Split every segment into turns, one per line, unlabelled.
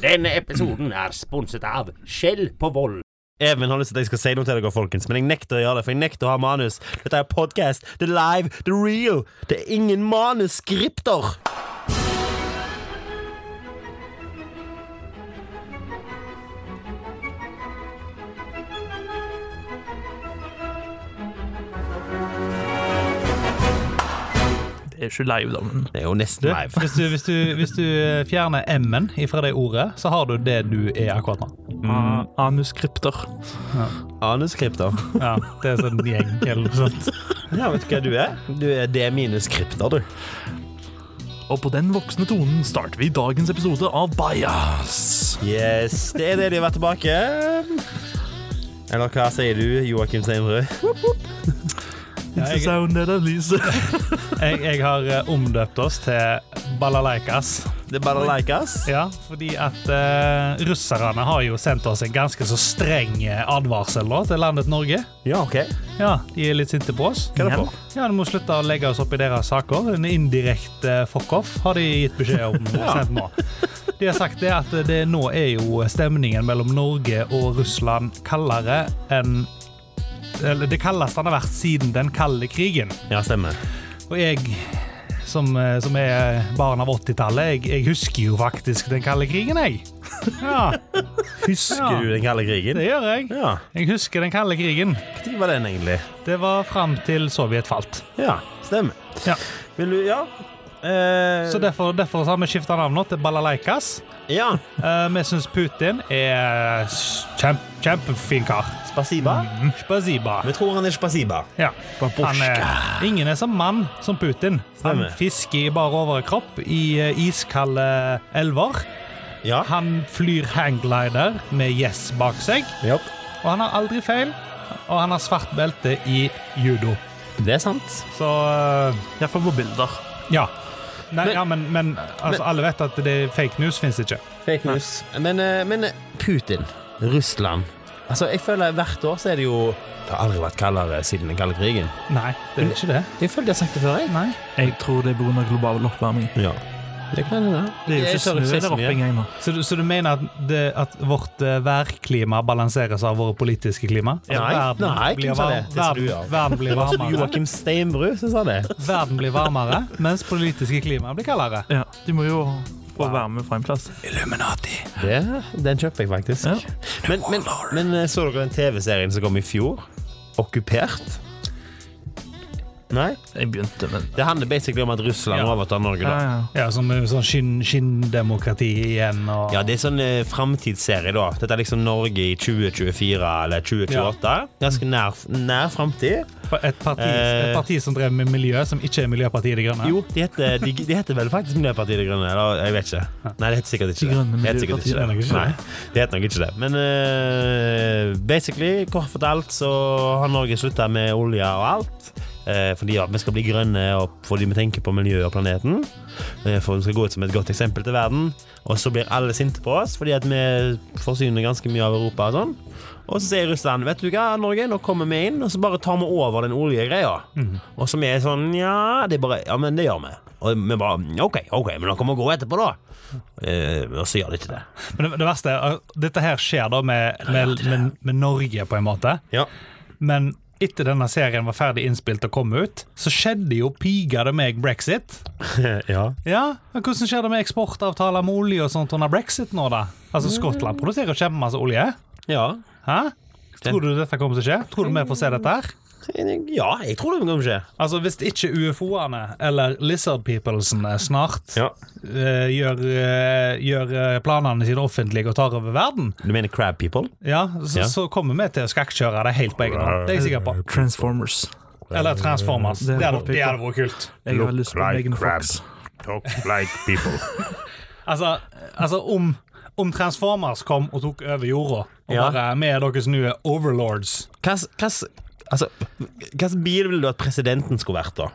Denne episoden er sponset av Skjell på vold.
Even har lyst til at jeg skal si noe til dere, folkens, men jeg nekter å gjøre det, for jeg nekter å ha manus. Dette er podcast, det er live, det er real. Det er ingen manuskripter.
Det er ikke live, da, men
Det er jo nesten
Du,
live.
hvis, du, hvis, du, hvis du eh, fjerner M-en ifra det ordet, så har du det du er akkurat nå.
Ah, Manuskripter.
Manuskripter.
Ja, Det er sånn gjeng eller noe sånt.
Ja, vet du hva du er? Du er det minuskripter, du.
Og på den voksne tonen starter vi dagens episode av Bajas.
Yes, det er det de har vært tilbake. Eller hva sier du, Joakim Seinrød?
Ja,
It's the
jeg,
sound that I lose.
jeg, jeg har eh, omdøpt oss til balalaikas.
Det er bare like us.
Ja, fordi at eh, russerne har jo sendt oss en ganske så streng eh, advarsel da, til landet Norge.
Ja, ok.
Ja, De er litt sinte på oss.
Hva er det
Igjen?
for?
Ja, Du må slutte å legge oss opp i deres saker. En indirekte fuck-off har de gitt beskjed om. sent nå. De har sagt det at det nå er jo stemningen mellom Norge og Russland kaldere enn eller Det kaldeste den har vært siden den kalde krigen.
Ja, stemmer.
Og jeg, som, eh, som er barn av 80-tallet, jeg, jeg husker jo faktisk den kalde krigen, jeg. Ja,
Husker
Ja.
du den kalde krigen?
det gjør jeg.
Ja.
Jeg husker den kalde krigen.
Når var den egentlig?
Det var fram til Sovjet falt.
Ja, stemmer.
Ja.
Vil du Ja. Eh,
Så derfor, derfor så har vi skifta navn nå til Balalaikas.
Ja.
Eh, Vi syns Putin er s- kjemp, kjempefin kar.
Spasiba?
Spaziba.
Vi tror han er Spasiba.
Ja. Han er, ingen er som mann som Putin. Han
Stemmer.
fisker i bar overkropp i eh, iskalde elver.
Ja.
Han flyr hangglider med yes bak seg.
Ja.
Og han har aldri feil. Og han har svart belte i judo.
Det er sant.
Så eh,
Iallfall på bilder.
ja. Nei,
Men-
ja, men, men, altså, alle vet at det er fake news fins ikke.
Fake news. Men, eh, men eh, Putin, Russland Altså, jeg føler Hvert år så er det jo Det har aldri vært kaldere siden den kalde krigen.
Nei, det er ikke det.
Jeg føler de har sagt det før. jeg.
Nei.
Jeg tror det er pga. global oppvarming.
Ja. Det kan hende.
Det er jo
Jeg
ikke
tør
snø
si så
der oppe
mye.
engang nå.
Så du, så du mener at, det, at vårt eh, værklima balanseres av våre politiske klima? Altså,
Nei, nei, hvem
blir
sa
varm-
det? Det sa du, ja.
verden, verden, blir varmere,
Joakim Steinbru som sa det.
verden blir varmere, mens politiske klima blir kaldere.
Ja, de må jo få være med fra en plass. Illuminati.
det. Den kjøper jeg faktisk.
Ja.
Men, men, men eh, så dere den TV-serien som kom i fjor? Okkupert? Nei?
Jeg begynte, men
Det handler basically om at Russland
Ja.
overtar Norge,
ja,
da.
ja.
Ja, som sånn skinn, skinndemokrati igjen og
Ja, det er sånn eh, framtidsserie, da. Dette er liksom Norge i 2024 eller 2028. Ganske nær, nær framtid.
et, parti, et parti som drev med miljø, som ikke er Miljøpartiet De Grønne.
Jo, de heter, de, de heter vel faktisk Miljøpartiet De Grønne. Eller jeg vet ikke. Nei, det heter sikkert ikke
De Grønne
det. det. heter sikkert ikke
Miljøpartiet,
det er nok
det.
ikke det.
Nei, det heter nok ikke det. Men eh, basically, kort fortalt, så har Norge slutta med olje og alt. Eh, fordi ja, vi skal bli grønne, og fordi vi tenker på miljøet og planeten. Eh, for vi skal gå ut som et godt eksempel til verden. Og så blir alle sinte på oss, fordi at vi forsyner ganske mye av Europa og sånn. Og så sier Russland vet du hva, Norge, nå kommer vi inn, og så bare tar vi over den oljegreia. Og så vi er sånn ja, det er bare, ja, men det gjør vi. Og vi bare OK, ok, men dere må gå etterpå, da. Eh, og så gjør de ikke det.
Men det, det verste er at dette her skjer da med, med, med, med Norge, på en måte.
Ja.
Men etter denne serien var ferdig innspilt og kom ut, så skjedde jo piga det meg brexit.
ja.
Ja, men Hvordan skjer det med eksportavtaler med olje og sånt under brexit nå, da? Altså, Skottland produserer jo kjempemasse olje.
Ja.
Hæ? Tror du dette kommer til å skje? Tror du vi får se dette her?
Ja, jeg tror det kommer til å skje.
Altså, Hvis ikke UFO-ene eller lizard peoplesene snart
Ja.
eh, gjør, eh, gjør eh, planene sine offentlige og tar over verden,
Du mener crab people?
ja, så,
Ja.
så kommer vi til å skakkjøre det helt på egen hånd. Det er jeg sikker på.
Transformers.
Eller Transformers.
Det
Det
er
hadde
populært.
det hadde vært kult.
Jeg har lyst på Megan Fox.
Talk like people.
Altså, altså om, om Transformers kom og tok over jorda, og
Ja.
bare vi er deres nye overlords
Hva slags altså, hva slags bil ville du at presidenten skulle vært, da?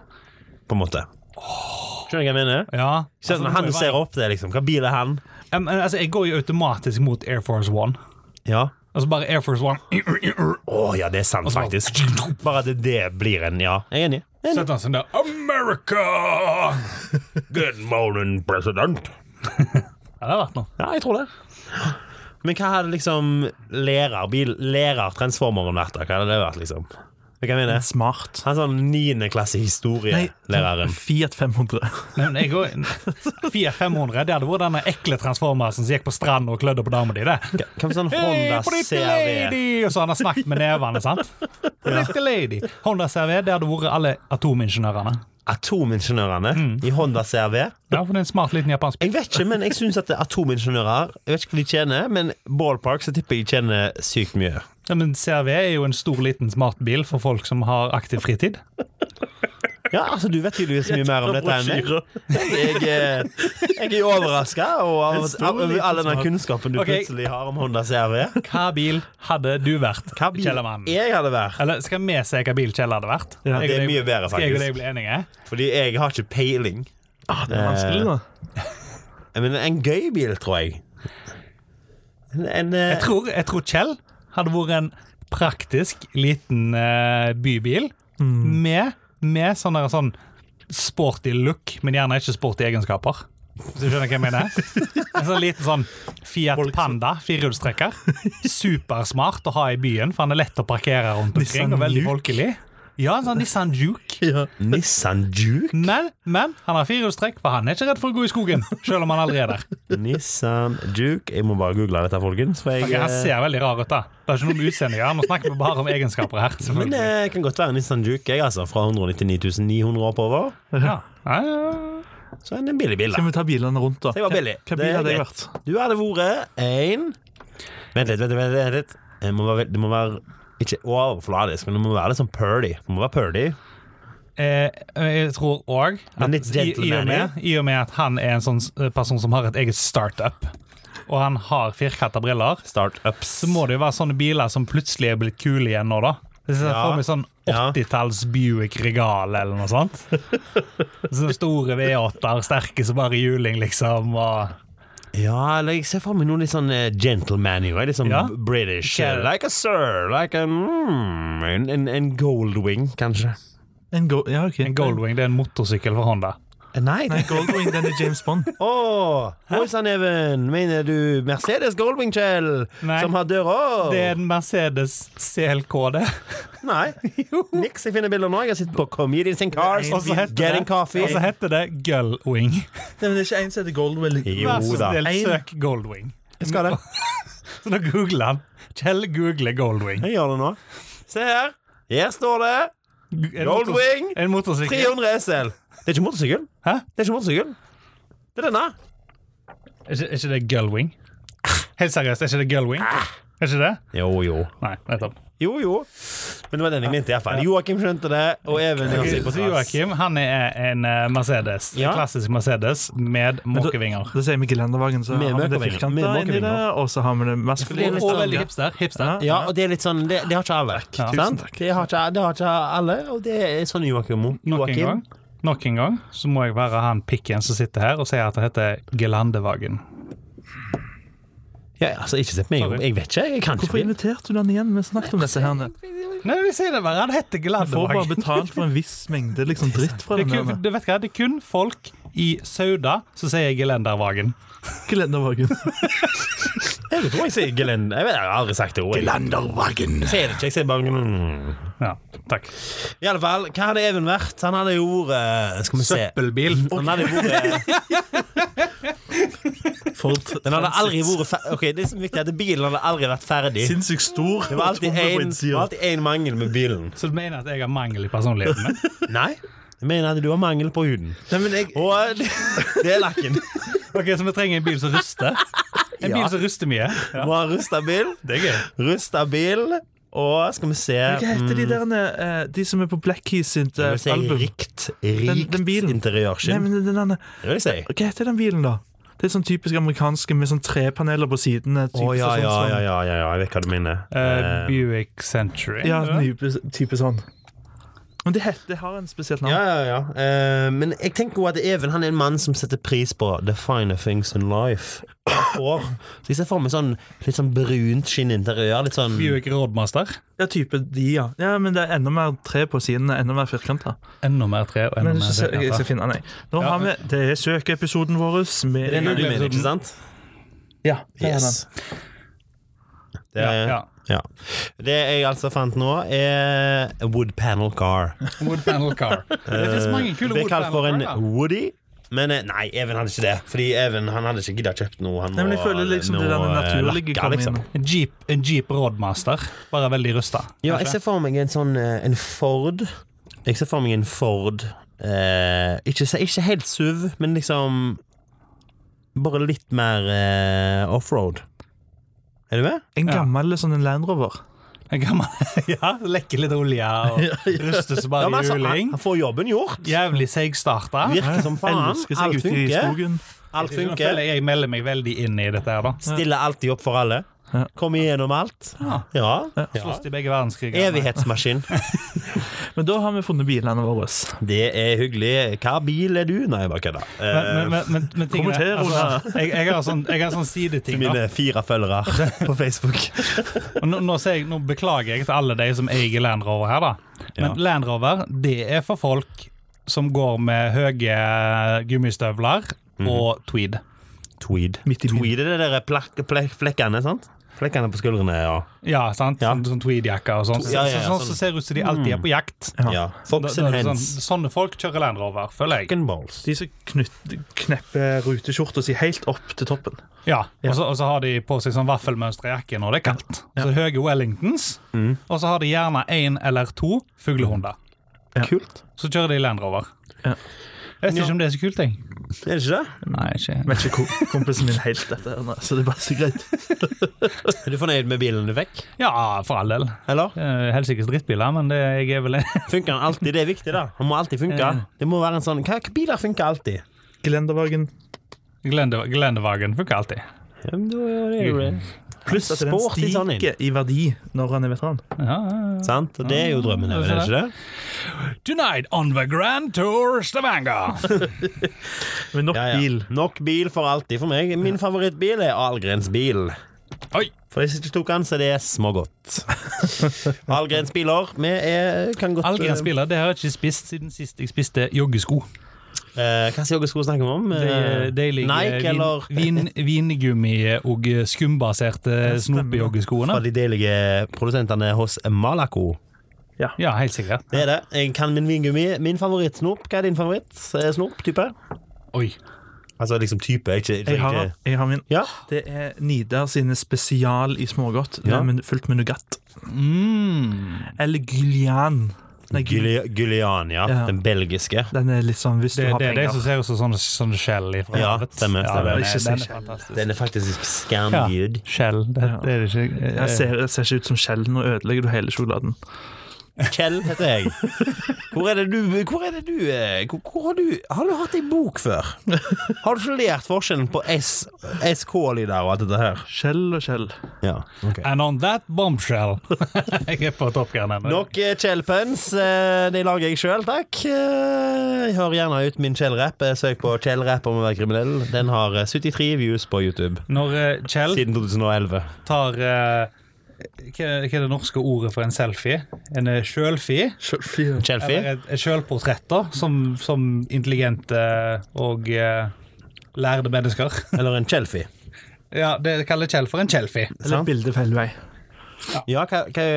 På en måte. Skjønner du hva jeg mener?
Ja. Altså,
Sånn,
det må
han
jo
du ser
være-
opp til, liksom. Hva bil er han?
Ja, men, altså, jeg går jo automatisk mot Air Force One.
Ja.
Altså bare Air Force One.
Å ja, det er sant,
så-
faktisk. Bare at det, det blir en ja. Jeg er enig. Jeg er enig.
Sett han sånn der America!
Good morning, President.
Ja, det har vært noe.
Ja, jeg tror det. Men hva hadde liksom lærerbil, lærertransformeren vært da? Hva hadde det vært, liksom? Hva jeg mener?
Smart.
Han er sånn niendeklasse historielæreren.
Fiat 500.
Nei, men jeg går- Fiat 500, det hadde vært denne ekle transformersen som gikk på stranden og klødde på dama di. det.
Hva med sånn
Hey,
Honda
pretty
CRV?
lady! Og så han har snakket med nevene, sant? Pretty lady. Honda CRV, det hadde vært alle atomingeniørene.
Atomingeniørene
Mm.
i Honda CRV?
Ja, for det er en smart liten japansk
Jeg vet ikke, men jeg syns at det er atomingeniører Jeg vet ikke hva de tjener, men ballpark så tipper jeg de tjener sykt mye.
ja, Men CRV er jo en stor, liten smartbil for folk som har aktiv fritid.
Ja, altså Du vet tydeligvis mye mer om dette enn meg. Jeg, eh, jeg er overraska over av- over all denne kunnskapen du
sånn. Ok.
plutselig har om Honda CRV.
Hva bil hadde du vært,
Hva bil
Kjellermann?
jeg hadde vært?
Eller skal vi si hva bil Kjell hadde vært?
Ja,
Jeg og
det er
deg-
mye bedre,
Skal jeg og
faktisk.
deg bli enige?
Fordi jeg har ikke peiling.
Ah, det er vanskelig, da.
Jeg mener, en gøy bil, tror jeg. En, en, eh,
Jeg tror, jeg tror Kjell hadde vært en praktisk liten eh, bybil
Mm.
med, med sånn der sånn sporty look, men gjerne ikke sporty egenskaper. Hvis du skjønner hva jeg mener? En sånn liten sånn Fiat Panda, firehjulstrekker. Supersmart å ha i byen, for han er lett å parkere rundt omkring
Nissan
og veldig
Juke.
folkelig. Ja, en sånn Nissan Juke.
Nissan Juke?
Men, men han har firehjulstrekk, for han er ikke redd for å gå i skogen, selv om han aldri er der.
Nissan Juke. Jeg må bare google dette, folkens. For jeg,
Ok, han
eh,
ser veldig rar ut, da. Det er ikke noe med utseendet å gjøre. Nå snakker vi bare om egenskaper her.
eh, men
selvfølgelig.
det kan godt være Nissan Juke, jeg, altså. Fra 199 900 oppover.
Ja. Ja, ja, ja.
Så er det en billig bil, da.
Skal vi ta bilene rundt, da?
Det var billig.
Hva
Det
bil
er
hadde jeg
greit.
vært?
Du hadde vært en Vent litt, vent litt. vent litt Jeg må være, Det må være ikke overfladisk, men det må være litt sånn purdy. Det må være purdy.
Eh, jeg tror òg
Men litt
i, i, og med- I og med at han er en sånn s- person som har et eget startup, og han har firkanta briller,
Startups.
så må det jo være sånne biler som plutselig er blitt kule igjen nå, da. Hvis jeg
Ja.
får meg sånn
Ja.
80-talls Buick Regal eller noe sånt. Sånne store V8-er, sterke som bare juling, liksom. Og
Ja, eller jeg ser for meg noe litt sånn eh, gentleman jo. eh, Litt sånn
Ja.
b- British. eh,
Kjell.
Like a sir. Like a mm, en, en, en goldwing, kanskje.
En go ja, ok.
en Goldwing det er en motorsykkel for Honda.
Eh, Nei.
Nei,
det-
Goldwing, den er James Bond.
Å! Oi sann, Even. Mener du Mercedes Goldwing, Kjell?
Nei.
Som har døra?
Det er en Mercedes CLK, det.
Nei. Niks. Jeg finner bilder nå. Jeg har sittet på Comedians in Cars.
Og så heter
Getting
det, og
coffee.
så heter det Gullwing.
Nei, men det er ikke en som heter Goldwing.
Jo
Vær så
da.
snill,
En-
søk Goldwing.
Jeg skal det.
Så nå googler han. Kjell googler Goldwing.
Jeg gjør det nå. Se her. Her står det
En
Goldwing!
motors- En motorsykkel.
300 SL. Det er ikke motorsykkel.
Hæ?
Det er ikke motorsykkel. Det er denne.
Er ikke, er ikke det Gullwing? Helt seriøst, er ikke det Gullwing?
Ah.
Er ikke det?
Jo, jo.
Nei, nettopp.
Jo, jo. Men det var den jeg mente, iallfall. Joakim skjønte det, og Even gjør seg på
Så
trass.
Joakim han er en eh, Mercedes.
Ja.
En klassisk Mercedes med måkevinger.
Da sier vi gelendervagen, så
Med
har vi det
møkevinger.
firkanta
Med
inni det,
møkevinger.
og så har vi det maskuline.
Og veldig hipster. hipster.
sånn, Ja, og det er litt sånn Det, det har ikke alle.
Ja.
Sant? Det har ikke, det har ikke alle, og det er sånn Joakim må.
Nok en
Joakim.
gang. Nok en gang så må jeg være han pikken som sitter her og sier at det heter Gelandevagen.
Ja, altså, ikke se på meg.
Sorry.
Jeg vet ikke. Jeg kan
Hvorfor
ikke. bil.
inviterte du den igjen? Vi snakket om dette her. nede.
Nei, vi sier det bare. Han
Du
heter
får bare
Gelandevagen.
betalt for en viss mengde liksom, dritt fra
Det
den
er, kun,
der.
det, vet du hva, det er kun folk i Sauda som sier Gelendervagen.
Gelendervagen.
Jeg tror jeg sier gelend... Jeg vet, jeg har aldri sagt det ordet.
Landerwagen.
Jeg sier det ikke. Jeg sier bare mm.
Ja, takk.
I alle fall, hva hadde Even vært? Han hadde jo eh, Skal vi se
Søppelbil.
Han hadde vært Den hadde aldri vært fer Ok, det er så viktig at bilen hadde aldri vært ferdig.
Sinnssykt stor.
Det var alltid en- det var alltid én mangel med bilen.
Så du mener at jeg har mangel i personligheten min?
Nei, jeg mener at du har mangel på huden.
Nei, men jeg,
Og eh, det, det er lakken.
Ok, Så vi trenger en bil som ruster? En
Ja.
bil som ruster mye? Ja.
Må ha rusta bil.
Det er gøy.
Rusta bil, og skal vi se
hva heter de der eh, De som er på Black Keys sitt
Skal
eh,
vi si
album?
rikt,
Den- den
rikt
bilen. Nei,
interiørskinn.
men den der
Det vil jeg si.
Hva heter den bilen, da? Det er sånn typisk amerikanske med sånn trepaneler på sidene.
Å
typisk
ja,
sånn
ja,
som-
ja, ja, ja, ja, jeg vet hva du mener.
Eh,
Eh,
Buick Century.
sånn. Ja, type, type sånn. Men det, het- det har en spesielt navn.
Ja, ja, ja. Eh, men jeg tenker også at Even han er en mann som setter pris på the finer things in life. Og, så jeg ser for meg sånn litt sånn brunt skinninteriør. Litt sånn
Buick Roadmaster.
Ja, type de, ja. ja. Men det er enda mer tre på siden, enda mer firkanta.
Enda mer tre og enda
Men
mer
så ser- jeg skal
firkanter.
finne den, jeg. Nå
Ja.
har vi Det er søkeepisoden vår med
Det er den du
altså,
mener, ikke sant?
Ja, det er
Yes.
den.
Det er,
Ja,
ja, Det jeg altså fant nå, er a wood panel car.
Wood panel car. Det finnes mange kule
Eh, Det er
wood
kalt for en
panel car.
Woody. Men eh, nei, Even hadde ikke det. Fordi Even han hadde ikke giddet kjøpt noe. Han eh,
Nei, men jeg føler liksom det der naturlige
lakke,
kom inn.
liksom.
En Jeep, en Jeep Roadmaster, bare veldig rusta.
Ja, jeg ser for meg en sånn eh, En Ford. Jeg ser for meg en Ford eh, ikke, så- ikke helt SUV, men liksom Bare litt mer eh, offroad. Er du med?
En
Ja.
gammel sånn en Land Rover.
En gammel Ja, lekker litt olje og rustes bare
Ja, men
i
altså, han,
juling.
han får jobben gjort.
Jævlig seigsstarta.
Virker som faen.
Elsker seg
Alt
ute i
funker.
skogen.
Alt
Jeg
funker.
føler Jeg melder meg veldig inn i dette her, da.
Stiller alltid opp for alle.
Ja.
Kommer igjennom alt.
Ja.
Ja.
Slåss i begge verdenskriger.
Evighetsmaskin.
Men da har vi funnet bilene våre.
Det er hyggelig. Hva bil er du? Nei, jeg bare kødder.
Men, men,
Eh,
men, men, men tingene,
Kommenter, Ola.
altså, jeg, jeg har sånn, jeg har sånn
til
sideting.
Eh,
da.
mine fire følgere på Facebook.
Og Nå, nå, ser jeg, nå beklager jeg til alle de som eier Land Rover her, da. Men
Ja.
Land Rover, det er for folk som går med høye gummistøvler
Mhm.
og tweed.
Tweed.
Midt i byen.
Tweed er det der plak- plek- flekkene, sant? Flekkene på skuldrene, ja.
Ja, sant?
Ja.
Sånn, sånn tweedjakker og sånn.
Ja, ja, ja,
Så- sånn som
sånn.
ser ut som de alltid er på jakt.
ja.
Da,
Fox
da,
and
er det sånn,
hands.
sånne folk kjører Land Rover, føler jeg.
Fucking balls.
De som knyt- knepper ruteskjorta si helt opp til toppen.
Ja, og så, og så har de på seg sånn vaffelmønster i jakke når det er kaldt. Så høye Wellingtons, og så har de gjerne én eller to fuglehunder.
Kult.
Så kjører de Land Rover.
Ja.
Jeg vet ikke om det er så kult, jeg.
Er det ikke det?
Nei, ikke
Vet ikke hvor kompisen min helt dette, her, nei, så det er bare så greit.
Er du fornøyd med bilen du fikk?
Ja, for all del.
Eller?
Eh, Helsikes drittbiler, men det, jeg er vel
Funker den alltid? Det er viktig, da. Den må alltid funke. Det må være en sånn Hva hva biler funker alltid?
Gelendervagen.
Glende- Glendevagen funker alltid.
Pluss at den
Sport i sånn en.
stiger i verdi når han er veteran.
Ja, ja, ja.
Sant? Og det er jo drømmen, er det ikke det?
Tonight on the Grand Tour Stavanger.
Men nok
Ja, ja.
bil.
Nok bil for alltid for meg. Min favorittbil er Ahlgrens bil.
Oi.
For de som ikke tok den, så det er smågodt. Ahlgrens biler. Vi er, kan godt
Allgrens biler det har jeg ikke spist siden sist jeg spiste joggesko.
Eh, Hva sier dere skulle snakke om? Eh,
Det- det ligger
Nike,
vin-
eller
vin, Vingummi- eh, og eh, skumbaserte
fra
snopejoggeskoene.
de deilige produsentene hos Malaco.
Ja, helt sikkert.
Det er det. Jeg kan min vingummi. Min favorittsnop. Hva er din favorittsnop-type?
Oi.
Altså liksom type, ikke, ikke
Jeg har, jeg har min.
Ja.
Det er Nidar sine spesial i smågodt,
Ja.
men fullt med nougat.
Mm.
Eller Gulian. Nei, Gul-
Gulli- Gulliania,
Ja.
den belgiske.
Den er litt sånn hvis du
Det,
har
det er
penger.
de som ser ut som sånne, sånne skjell ifra
Ja, stemmer,
Ja,
stemmer.
den er-
Ikke
den er
skjell.
fantastisk.
Den er faktisk
Ja,
skamgud.
skjell. Det, det er det ikke. eh,
Jeg ser, jeg ser ikke ut som skjell, nå ødelegger du hele sjokoladen.
Kjell heter jeg. Hvor er det du, hvor er det du eh, hvor, hvor har, du, har du hatt ei bok før? Har du ikke lært forskjellen på S, SK-lyder og alt dette her?
Skjell og skjell.
Ja, ok
Eh, And on that bombshell Jeg er på Top Gun ennå.
Nok eh, Kjell-puns. Eh, De lager jeg sjøl, takk. Eh, Hør gjerne ut min Kjell-rapp. Eh, Søk på Kjell-rapp om å være kriminell. Den har eh, 73 views på YouTube
Når eh, Kjell
siden 2011.
tar eh, hva, er- hva er det norske ordet for en selfie? En eh, sjølfie? Eller
Kjellfi.
et, et sjølportrett, da, som, som intelligente og eh, lærde mennesker.
Eller en Kjellfi.
ja, det kaller Kjell for en kjellfie.
Eller et bilde feil vei.
Ja, hva, hva,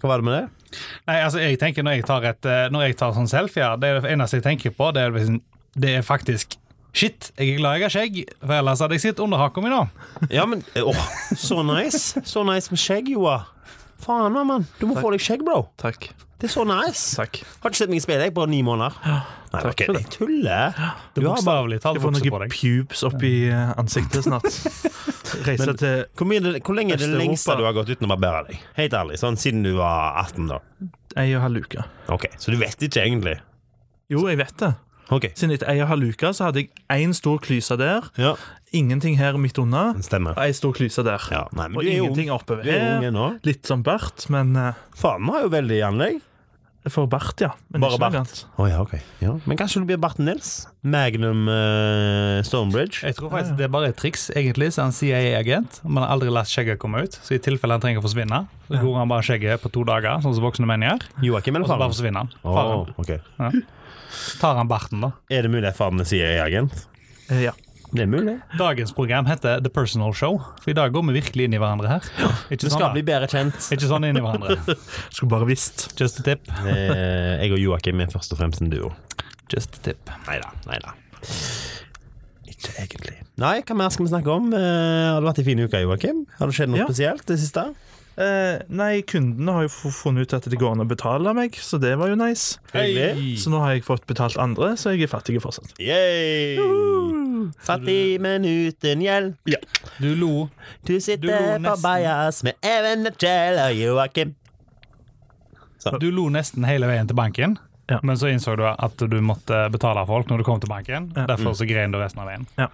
hva var det med det?
Nei, altså, jeg tenker når jeg tar, et, eh, når jeg tar sånn selfier, det er det eneste jeg tenker på, det er, liksom- det er faktisk Shit, jeg er glad jeg har skjegg, for ellers hadde jeg sittet under haka mi nå.
Ja, men eh, åh, Så nice. Så nice med skjegg, Joa. Faen, mann. Du må få deg skjegg, bro.
Takk.
Det er så nice.
Takk.
Har ikke sett meg i spillet, jeg. Bare ni måneder. Nei,
takk
okay,
for det.
jeg tuller. Du har bare
Bokstavelig talt
Jeg får
vokser på
noen
deg.
pubes opp i eh, ansiktet snart. Reise til
hvor, mye, er det- hvor lenge er det
Østeuropa.
lengste du har gått uten å barbere deg? Helt ærlig, sånn siden du var 18, da.
ei og halv uke.
Ok, Så du vet ikke egentlig?
Jo, jeg vet det.
Ok,
Siden etter ei og halv uke så hadde jeg én stor klyse der,
ja,
ingenting her midt unna,
det stemmer.
og ei stor klyse der.
Ja, nei, men du
Og
er jo ung.
ingenting oppover Eh,
Du er ung
her.
ennå.
Litt sånn bart, men eh,
Faen, vi har jo veldig anlegg.
For bart, ja. Men
Bare
ikke noe
bart.
annet.
Å ja, ok. Ja. Men kanskje du blir Barten Nils? Magnum eh, Stonebridge?
Jeg tror faktisk det er bare et triks, egentlig, så er han CIA-agent. Man har aldri latt skjegget komme ut, så i tilfelle han trenger å forsvinne, så går han bare skjegget på to dager, sånn som voksne menn gjør,
Joakim
og
eller
så bare
faren?
forsvinner han.
Oh,
Faren.
ok.
Tar han barten, da.
Er det mulig at faren sier jeg er agent?
Eh, ja.
Det er mulig.
Dagens program heter The Personal Show, for i dag går vi virkelig inn i hverandre her. Ikke
Du skal
sånn,
bli
da.
bedre kjent.
Ikke sånn inn i hverandre.
Skulle bare visst.
Just a tip.
Eh, jeg og Joakim er først og fremst en duo.
Just a tip.
Nei da. Ikke egentlig. Nei, hva mer skal vi snakke om? Eh, har det vært en fin uke, Joakim? Har det skjedd noe
Ja.
spesielt det siste?
Eh, nei, kundene har jo f- funnet ut at det går an å betale meg, så det var jo nice.
Hyggelig.
Så nå har jeg fått betalt andre, så jeg er fattig fortsatt.
Yay! Fattig, men uten gjeld.
Du lo.
Du
Du lo
sitter på
nesten.
bajas med Even og Kjell og Joakim.
Du lo nesten hele veien til banken,
Ja.
men så innså du at du måtte betale folk når du kom til banken.
Ja.
Mm.
Derfor så grein du resten av veien.
Ja.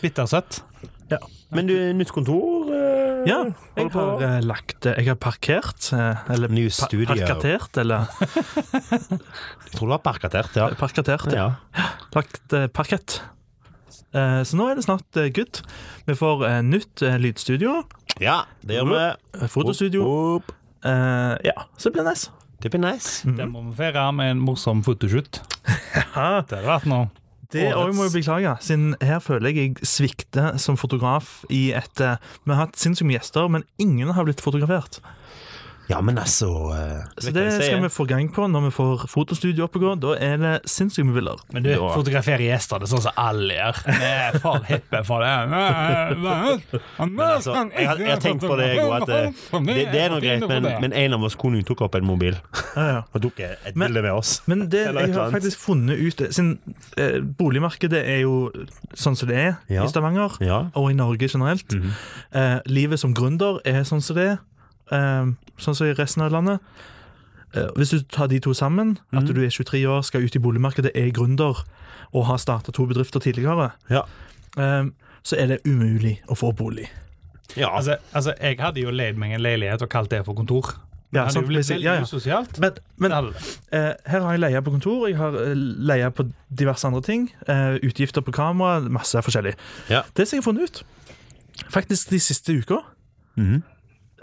Bittersøtt.
Men du, nytt kontor? eh,
Ja,
holder
jeg
på?
har eh, lagt det Jeg har parkert, eh, eller
New
pa-
studio.
parkatert, eller eh,
Jeg tror det var parkatert, ja.
parkatert, ja.
ja.
Lagt eh, parkett. Eh, så nå er det snart eh, good. Vi får eh, nytt eh, lydstudio,
Ja, det gjør vi.
eh, fotostudio.
Opp, opp.
Eh, ja, så det blir nice.
Det blir nice.
Det Mm. må vi feire med en morsom fotoshoot. Det hadde vært noe.
Det
Årets-
òg må jeg beklage, siden her føler jeg jeg svikter som fotograf i et eh, Vi har hatt sinnssykt mye gjester, men ingen har blitt fotografert.
Ja, men altså eh,
Så
vet
det
du hva jeg
skal
sier?
vi få gang på når vi får fotostudio opp og gå. Da er det sinnssykt mye bilder.
Men du, fotografere gjester, det er sånn som alle gjør. Vi er for hippe for det.
Altså, jeg, har- jeg har tenkt på det, jeg òg. Det, det er noe greit, men, men en av oss kunne jo tok opp en mobil
Ja, ja.
og tok et
Men-
bilde med oss.
Men det,
Eller et
jeg
eller
har
annet.
faktisk funnet ut Siden eh, boligmarkedet er jo sånn som det er
Ja.
i Stavanger,
Ja.
og i Norge generelt.
Mhm.
eh, livet som gründer er sånn som det er. eh, sånn som i resten av landet. Eh, hvis du tar de to sammen, at
Mhm.
du er 23 år, skal ut i boligmarkedet, er gründer og har starta to bedrifter tidligere,
Ja.
eh, så er det umulig å få bolig.
ja.
Altså, altså, jeg hadde jo leid meg en leilighet og kalt det for kontor.
Ja,
Det hadde
sant,
jo blitt
hvis jeg-
veldig
ja, ja.
usosialt.
Men, men
Det hadde det.
Eh, her har jeg leie på kontor, jeg har eh, leie på diverse andre ting. Eh, utgifter på kamera, masse forskjellig.
Ja.
Det som jeg har funnet ut, faktisk de siste uka
Mhm.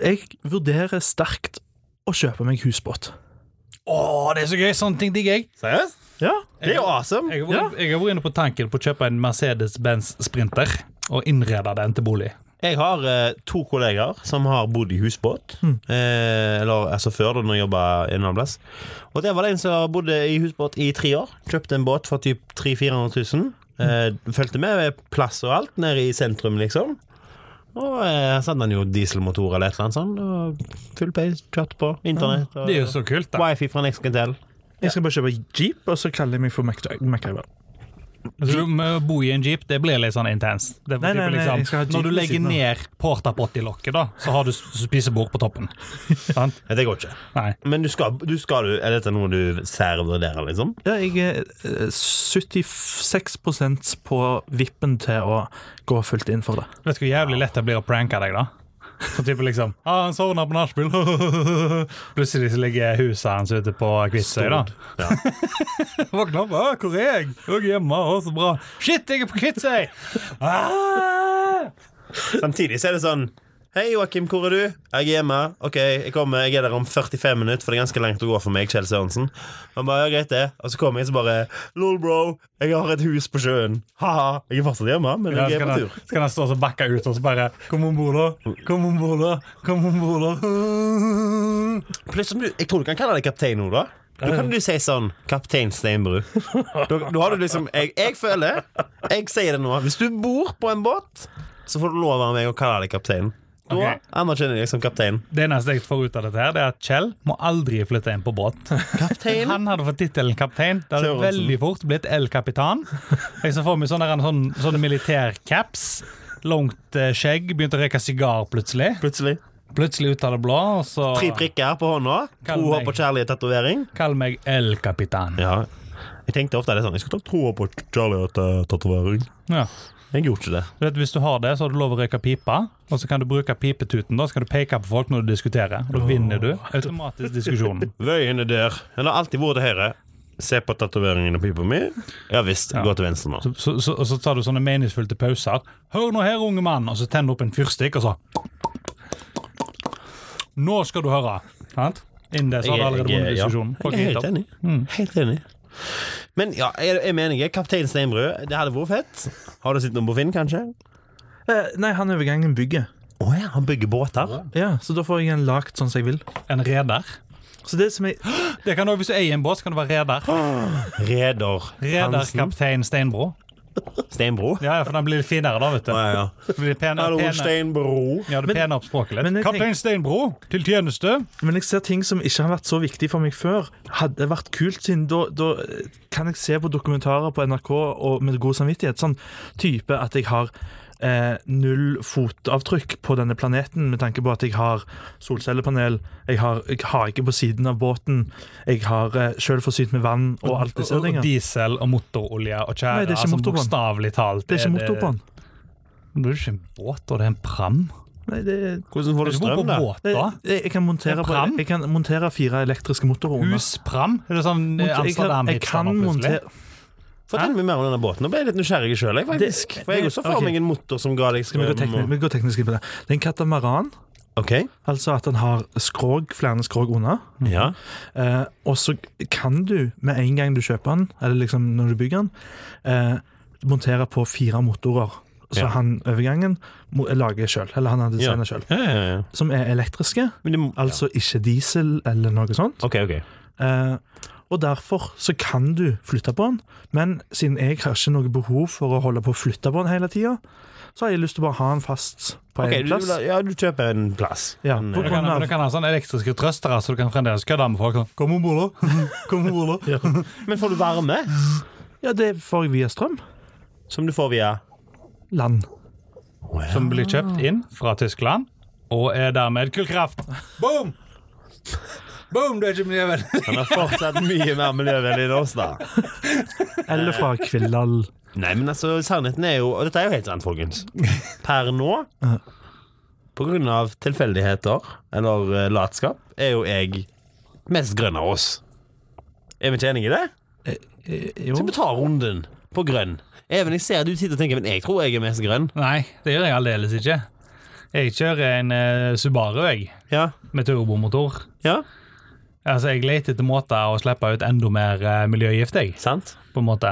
Jeg vurderer sterkt å kjøpe meg husbåt.
Å, det er så gøy! Sånne ting digger jeg.
Seriøst?
Ja,
Det er jo awesome.
Jeg har vært, jeg har vært inne på tanken på å kjøpe en Mercedes-Benz Sprinter og innrede den til bolig.
Jeg har eh, to kollegaer som har bodd i husbåt.
Mm.
Eh, eller altså før, da når jeg jobba en annen plass. Og der var det en som bodde i husbåt i tre år. Kjøpte en båt for typ 300 000-400 000. Eh, fulgte med ved plass og alt, nede i sentrum, liksom. Og eh, så hadde han jo dieselmotor eller et eller annet sånt. Og full pace, kjørt på. Internett. Og,
Det er jo så kult, da.
Wifi fra Nexcantel.
Jeg skal bare kjøpe jeep, og så kaller jeg meg for Mac- MacGyver.
Altså, du må bo i en jeep, det blir litt sånn intenst. Det er
Nei, nei,
typen
nei, jeg skal ha
liksom,
jeep
når du
ved
legger
siden av.
ned portapott-lokket, da, så har du s- spisebord på toppen. Sant?
Nei, det går ikke.
Nei.
Men du skal, du skal du Er dette noe du særvurderer, liksom?
Ja, jeg er eh, 76 på vippen til å gå fullt inn for det.
Vet du hvor jævlig lett det blir å pranke deg, da? Så typen liksom ah, 'Han sovna på nachspiel.' Plutselig så ligger huset hans ute på Kvitsøy, da.
Ja.
Våkne opp. «Å, 'Hvor er jeg?' 'Jeg er hjemme.' Å, så bra. 'Shit, jeg er på Kvitsøy!' Ah!
Samtidig så er det sånn Hei, Joakim, hvor er du? Jeg er hjemme. Ok, jeg kommer, jeg er der om 45 minutter, for det er ganske langt å gå for meg, Kjell Sørensen. Han bare, ja, greit det. Og så kommer jeg, så bare Lol, bro, jeg har et hus på sjøen. Ha-ha. Jeg er fortsatt hjemme, men
Ja,
jeg
så
er
kan
på
han-
tur.
så kan han stå og så bakke ut og så bare 'Kom om bord, da. Kom om bord, da. Kom om bord, da.'
Pluss om du Jeg tror du kan kalle deg kaptein nå, da. Da kan du si sånn Kaptein Steinbru. Da, da har du liksom jeg, jeg føler Jeg sier det nå. Hvis du bor på en båt, så får du lov av meg å kalle deg kaptein. Da
Ok.
anerkjenner jeg deg som kaptein.
Det eneste jeg får ut av dette, her Det er at Kjell må aldri flytte inn på båt.
Kaptein?
Han hadde fått tittelen kaptein. Det hadde
Sørensen.
veldig fort blitt El Capitan. Jeg så for meg sånne, der- sånn, sånne militærcaps. Langt eh, skjegg. Begynte å røyke sigar plutselig.
Plutselig.
Plutselig ut av det blå. Og så
Tre prikker på hånda.
Ah. Kall
To
meg.
håp og kjærlighet-tatovering.
Kall meg El Capitan.
Ja. Jeg tenkte ofte det sånn Jeg skulle ta to håp og kjærlighet-tatovering.
Ja.
eh, Jeg gjorde ikke det.
Du vet, hvis du har det, så har du lov å røyke pipa, og så kan du bruke pipetuten. Da så kan du peke på folk når du diskuterer, og da vinner du automatisk diskusjonen.
Vøyen er der. Den har alltid vært til høyre. Se på tatoveringen og pipa mi. Ja visst, gå til venstre nå.
Så, så, så, og så tar du sånne meningsfylte pauser. 'Hør nå her, unge mann', og så tenner du opp en fyrstikk, og så 'Nå skal du høre'. Sant? Innen det så har du allerede vunnet diskusjonen. Folk
Jeg er
er
helt
gitt opp. Mm.
enig. Helt enig. Men ja, jeg, jeg mener jeg. Kaptein Steinbrød, det hadde vært fett. Har du sett noe på Finn, kanskje?
Eh, nei, han er ved gangen bygget.
Å ja, han bygger båter.
Ja, så da får jeg en lagt sånn som jeg vil.
En reder.
Så det som jeg
Det kan også, Hvis du eier en båt, så kan du være reder.
Reder
Reder
Hansen.
kaptein Steinbro.
Steinbro.
Ja, ja, for den blir litt finere da, vet du.
Å, ja, ja.
Det blir pene, pene,
Steinbro.
ja, det pener opp språket
men
litt.
jeg tenk-
Kaptein Steinbro, til tjeneste.
Men jeg ser ting som ikke har vært så viktig for meg før. Hadde vært kult, siden da, da eh, kan jeg se på dokumentarer på NRK og med god samvittighet. Sånn type at jeg har eh, null fotavtrykk på denne planeten, med tanke på at jeg har solcellepanel, jeg har jeg har ikke på siden av båten, jeg har eh, sjøl forsynt med vann og alt disse
Og- og
tingene.
Diesel og motorolje og tjære.
Nei, det er ikke
altså,
motor på den.
Bokstavelig talt.
Det er ikke motor på den.
Det er ikke en båt, og det er en pram.
Nei, det,
Hvordan får
Du
du
bor på
strøm, da?
båt,
det,
da.
jeg, jeg, kan montere,
En
på,
pram?
jeg kan montere fire elektriske motorer under.
Huspram? Eh, Er det sånn eh,
Jeg kan, jeg
Amsterdam-hipster
kan
nå plutselig?
montere
Fortell meg mer om denne båten. Nå ble jeg litt nysgjerrig sjøl, faktisk.
Det-
For jeg
det-
også får
ok.
meg en motor som ga deg
Skal vi gå
strøm.
teknisk,
og-
vi går teknisk inn på det? Det er en katamaran.
OK.
Altså at den har skrog, flere skrog unna.
Ja.
Eh, og så kan du, med en gang du kjøper den, eller liksom når du bygger den, eh, montere på fire motorer. Så
Ja.
han overgangen mo- lager sjøl, eller han har designet sjøl.
Ja, ja, ja.
Som er elektriske,
Men det må-
altså ikke diesel eller noe sånt.
OK, OK.
Eh, og derfor så kan du flytte på den, men siden jeg har ikke noe behov for å holde på å flytte på den hele tida, så har jeg lyst til å bare ha den fast på
Ok,
en
du,
plass.
du- ja, du kjøper en plass.
Ja,
En,
på
eh,
Du kan, men du kan ha sånne elektriske trøstere, så du kan fremdeles kødde med folk. Sånn, Kom om bord, da. Kom om bord, da.
men får du varme,
Ja, det får jeg via strøm.
som du får via
Land.
Som blir kjøpt inn fra Tyskland, og er dermed kullkraft. Boom! Boom, du er ikke miljøvennlig.
Han er fortsatt mye mer miljøvennlig enn oss, da.
Eller fra Kvillal.
Nei, men altså, sannheten er jo Og dette er jo helt sant, folkens. Per nå,
Ja.
på grunn av tilfeldigheter eller eh, latskap, er jo jeg mest grønn av oss. Er vi ikke enige i det?
Eh, Jo.
Skal vi ta runden på grønn? Even, jeg ser du sitter og tenker, men jeg tror jeg er mest grønn.
Nei, det gjør jeg aldeles ikke. Jeg kjører en eh, Subaru, jeg,
Ja.
med turbomotor.
Ja,
Altså, Jeg leter etter måter å slippe ut enda mer eh, miljøgift, jeg.
sant?
på en måte.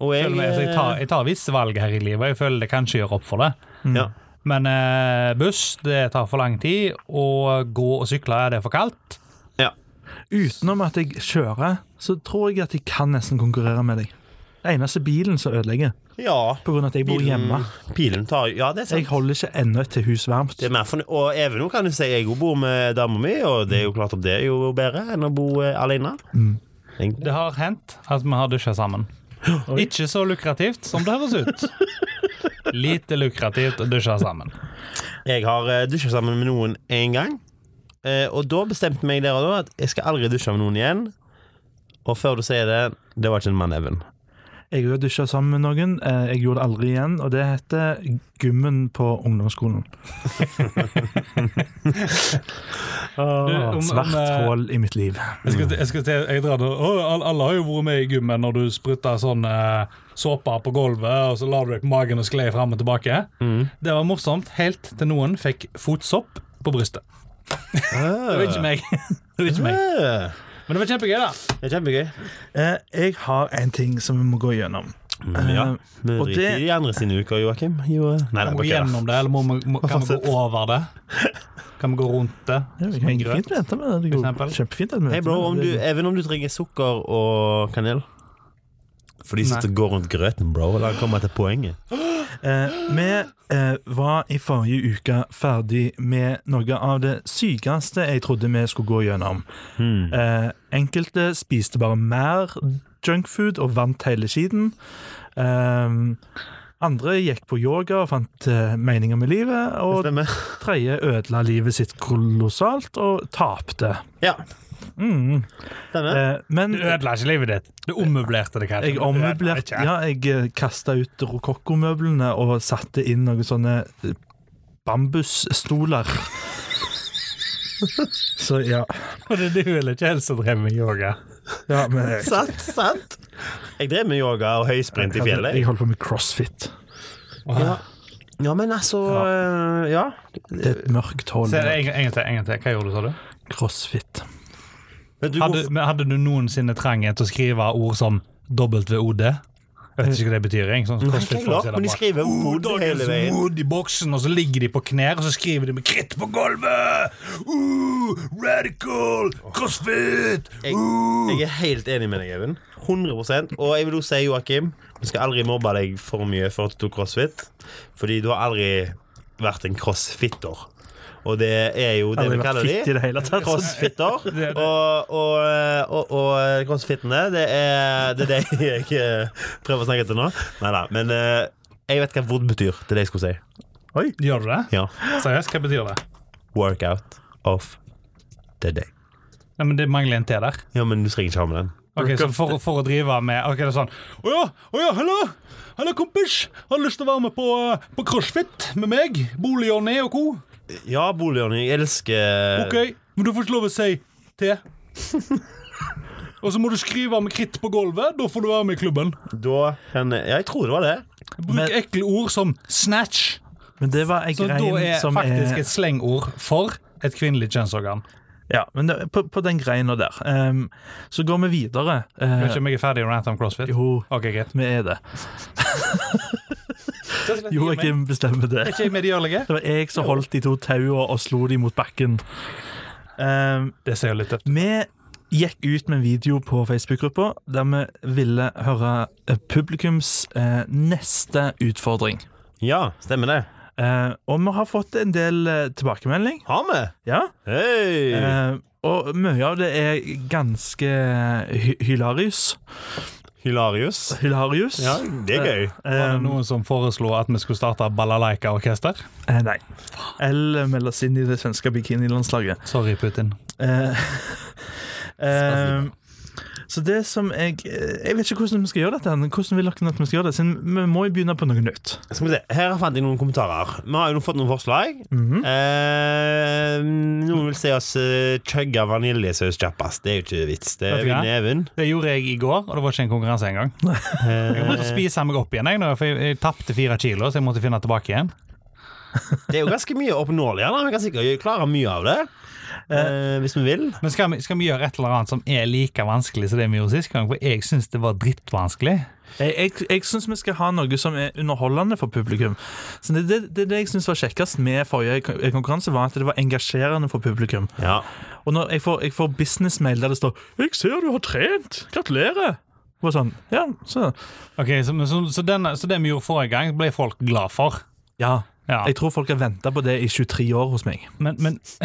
Og jeg,
Selv om jeg, altså, jeg, tar, jeg tar visse valg her i livet, og jeg føler det kanskje gjør opp for det.
ja.
Men eh, buss, det tar for lang tid. Og gå og sykle, er det for kaldt?
ja.
Utenom at jeg kjører, så tror jeg at jeg kan nesten konkurrere med deg. Det eneste bilen som ødelegger,
ja.
på grunn av at jeg bor hjemme.
Pilen tar jo Ja, det er sant.
Jeg holder ikke ennå til hus varmt.
Det er mer fornø- og Even nå kan jo si jeg jo bor med dama mi, og det er jo klart at det er jo bedre enn å bo eh, alene. Egentlig.
Det har hendt at vi har dusja sammen. Ikke så lukrativt som det høres ut. Lite lukrativt å dusje sammen.
Jeg har eh, dusja sammen med noen én gang, eh, og da bestemte meg der og da at jeg skal aldri dusje med noen igjen. Og før du sier det, det var ikke en mann, Even.
Jeg har dusja sammen med noen. eh, Jeg gjorde det aldri igjen, og det heter gymmen på ungdomsskolen.
om-
Svart
om, eh,
hull i mitt liv.
Jeg skal, jeg skal til, jeg drar det. Å, alle, alle har jo vært med i gymmen når du sprutter sånn eh, såpe på gulvet, og så la du deg på magen og skled fram og tilbake. Det var morsomt helt til noen fikk fotsopp på brystet. Det var ikke meg. Det var ikke meg.
Eh,
Men det var kjempegøy, da.
Det er kjempegøy.
Eh, Jeg har en ting som vi må gå gjennom.
Ja.
Eh,
Vi
og
driter i
det
de andre sine uker, Joakim. Jo, eh, nei, nei, bare
Må vi
kødda.
gjennom det, eller må, vi- må, kan vi gå over det? Kan vi gå rundt det?
Ja, vi
Som
kan
en grøt?
fint vente med det.
For
det.
eksempel.
går Kjempefint. at vi
Hei,
venter
bro,
med
om
det.
du, Even, om du trenger sukker og kanel For de sitter og går rundt grøten, bro. La meg komme til poenget.
Eh, vi eh, var i forrige uke ferdig med noe av det sykeste jeg trodde vi skulle gå gjennom.
Hmm.
Eh, enkelte spiste bare mer junkfood og vant hele skiten. Eh, andre gikk på yoga og fant eh, meninger med livet. Og
Stemmer.
tredje ødela livet sitt kolossalt og tapte.
Ja.
Mm.
Stemmer.
Eh, men
Du ødela ikke livet ditt. Du ommøblerte det, kanskje.
jeg
men du ødela
ommøblerte
ikke.
Ja, jeg kasta ut rokokkomøblene og satte inn noen sånne eh, bambusstoler. Så ja.
Og det er du eller Kjell som drev med yoga.
ja men jeg,
Sant, sant. Jeg drev med yoga og høysprint i fjellet.
jeg holder på med crossfit.
Ja. ja, men altså eh, Ja.
Det er et mørkt hold.
Se, en, en gang til. en gang til. Hva gjorde du, sa du?
Crossfit.
Men du,
Hadde, men hadde du noensinne trangen til å skrive ord som WOD? Jeg vet ikke hva det betyr. jeg. Sånn som
Ikke
CrossFit folk
men
sier
de
det bare.
skriver ord hele
Oh, Dagens
veien.
Wood i boksen, og så ligger de på knær, og så skriver de med kritt på gulvet! Uh, radical! CrossFit! Uh.
Jeg er helt enig med deg, Even. 100 Og jeg vil også si, Joakim, du skal aldri mobbe deg for mye for at du tok crossfit. Fordi du har aldri vært en crossfitter. Og det er jo det
Aldri
vi
vært
kaller
fit i
de.
det hele tatt.
Crossfitter.
det-
Og, og, og, og crossfittene, det er det, er det jeg eh, prøver å snakke til nå. Nei da. Men eh, jeg vet hva vod betyr. Det er det jeg skulle si.
Gjør du det?
Ja.
Seriøst, hva betyr det?
Workout of the day.
Nei, men Det mangler en T der.
Ja, men du trenger ikke ha med den.
Ok, så for, for å drive med Ok, det er sånn Å ja, å ja, hallo! Hallo, kompis! Har du lyst til å være med på, eh, på crossfit med meg? Bolig-Johnny og co.?
Ja, Boligjørning, jeg elsker
Ok, men du får ikke lov å si T. Og så må du skrive med kritt på gulvet. Da får du være med i klubben.
Da kan jeg- Ja, jeg tror det var det.
Bruk
Men-
ekle ord som snatch.
Men det var en
Så da
grein
er
som
faktisk
er
et slengord for et kvinnelig kjønnsorgan.
Ja, men det, på, på den greina der. Ehm, så går vi videre. Eh,
Vet ikke om jeg er ferdig å rante om crossfit.
jo,
Ok, greit.
vi er det. Joakim bestemmer det.
Er ikke jeg med de jørlige?
Det var jeg som holdt de to taua og slo de mot bakken. Ehm,
Det ser jo litt tøft
vi gikk ut med en video på Facebook-gruppa der vi ville høre eh, publikums eh, neste utfordring.
Ja, stemmer det.
Eh, og vi har fått en del eh, tilbakemelding.
Har vi?
Ja.
Hei!
Eh, og mye av det er ganske hy hilarius.
Hilarius.
Hilarius.
Ja, det er gøy.
Var det
Eh,
noen som foreslo at vi skulle starte balalaika-orkester?
eh, nei. Eller melde oss inn i det svenske bikinilandslaget.
Sorry, Putin.
Eh, eh, så det som jeg eh, Jeg vet ikke hvordan vi skal gjøre dette. men Hvordan vil dere at vi skal gjøre det? Siden vi må jo begynne på noe nytt.
eh, Skal vi se, Her fant jeg noen kommentarer. Vi har jo fått noen forslag.
Mhm.
eh, noen vil se oss eh, chugge vaniljesaus kjappest. Det er jo ikke vits. Det
Vet
er
du hva?
vinn even.
Det gjorde jeg i går, og det var ikke en konkurranse engang. Jeg måtte spise meg opp igjen, jeg, nå, for jeg, jeg tapte fire kilo, så jeg måtte finne tilbake igjen.
Det er jo ganske mye oppnåelig. her, da. Vi kan sikkert klare mye av det. eh, hvis vi vil.
Men skal vi, skal vi gjøre et eller annet som er like vanskelig som det vi gjorde sist gang? For jeg syns det var drittvanskelig.
Jeg, jeg, jeg syns vi skal ha noe som er underholdende for publikum. Så Det, det, det, det jeg syns var kjekkest med forrige kon- eh, konkurranse, var at det var engasjerende for publikum.
Ja.
Og når jeg får, jeg får businessmail der det står 'Jeg ser du har trent. Gratulerer'. Og sånn, ja, så,
Ok, Så, men så, så, denne, så det vi gjorde forrige gang, ble folk glad for.
ja.
Ja.
Jeg tror folk har venta på det i 23 år hos meg.
Men, men,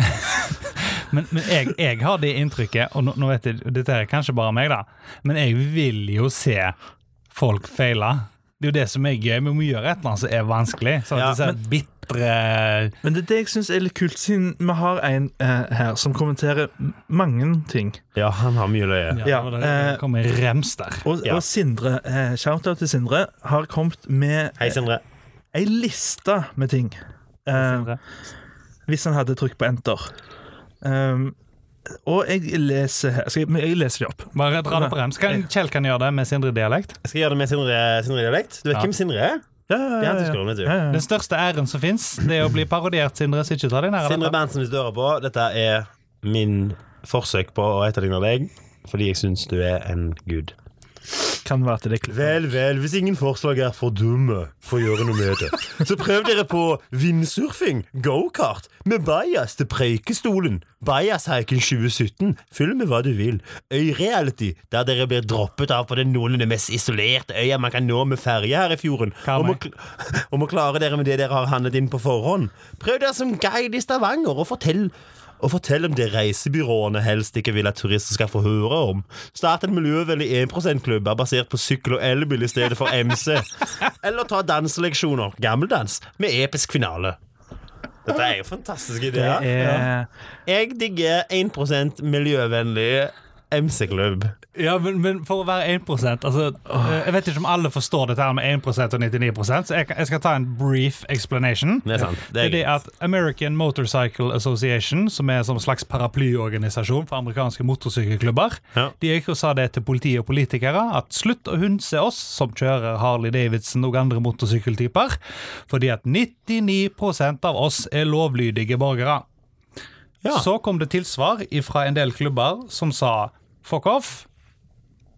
men, men jeg, jeg har det inntrykket, og nå, nå vet jeg, dette er kanskje bare meg, da, men jeg vil jo se folk feile. Det er jo det som er gøy. Vi må gjøre et eller annet som er vanskelig. Sånn at
Ja,
disse bitre
Men det er det jeg syns er litt kult, siden vi har en eh, her som kommenterer m- mange ting.
ja, han har mye løye.
Ja,
Ja,
det var det det
eh,
kom en rems der.
Og,
Ja.
og Sindre, eh, shout-out til Sindre, har kommet med
Hei, Sindre.
ei liste med ting. Eh, hvis han hadde trykk på enter. Um, og jeg leser her skal jeg, men jeg leser det opp.
Bare dra det på rems. Kan, Kjell kan gjøre det med Sindre-dialekt.
Jeg skal gjøre det med Sindre- Sindre-dialekt. du vet
Ja.
hvem Sindre er?
Ja, ja,
Det er han som skriver, vet du.
Den største æren som fins, det er å bli parodiert, Sindre. Så ikke ta deg nær av
Sindre
dette.
Berntsen, hvis du hører på, dette er min forsøk på å etterligne deg. Fordi jeg syns du er en gud.
Kan være til det er klipp.
Vel, vel, hvis ingen forslag er for dumme for å gjøre noe med det, så prøv dere på vindsurfing, gokart, med bajas til Preikestolen, Bajashaiken 2017, fyll med hva du vil, Øyreality, der dere blir droppet av på den noenlunde mest isolerte øya man kan nå med ferje her i fjorden,
Hva
og må,
meg?
kl- og må klare dere med det dere har handlet inn på forhånd. Prøv dere som guide i Stavanger, og fortell og fortell om det reisebyråene helst ikke vil at turister skal få høre om. Start en miljøvennlig 1 %-klubb er basert på sykkel og elbil i stedet for MC. Eller ta danseleksjoner, gammeldans, med episk finale. Dette er jo fantastiske
Det
ideer.
er
Jeg digger 1 miljøvennlig MC-klubb.
Ja, men, men for å være 1 altså, eh, Jeg vet ikke om alle forstår dette her med 1 og 99 så jeg, kan- jeg skal ta en brief explanation.
Det er sant. Det
Det
er
er det at American Motorcycle Association, som er som en slags paraplyorganisasjon for amerikanske motorsykkelklubber,
Ja.
de gikk og sa det til politi og politikere at slutt å hundse oss som kjører Harley Davidson og andre motorsykkeltyper, fordi at 99 av oss er lovlydige borgere.
Ja.
Så kom det tilsvar fra en del klubber som sa fuck off.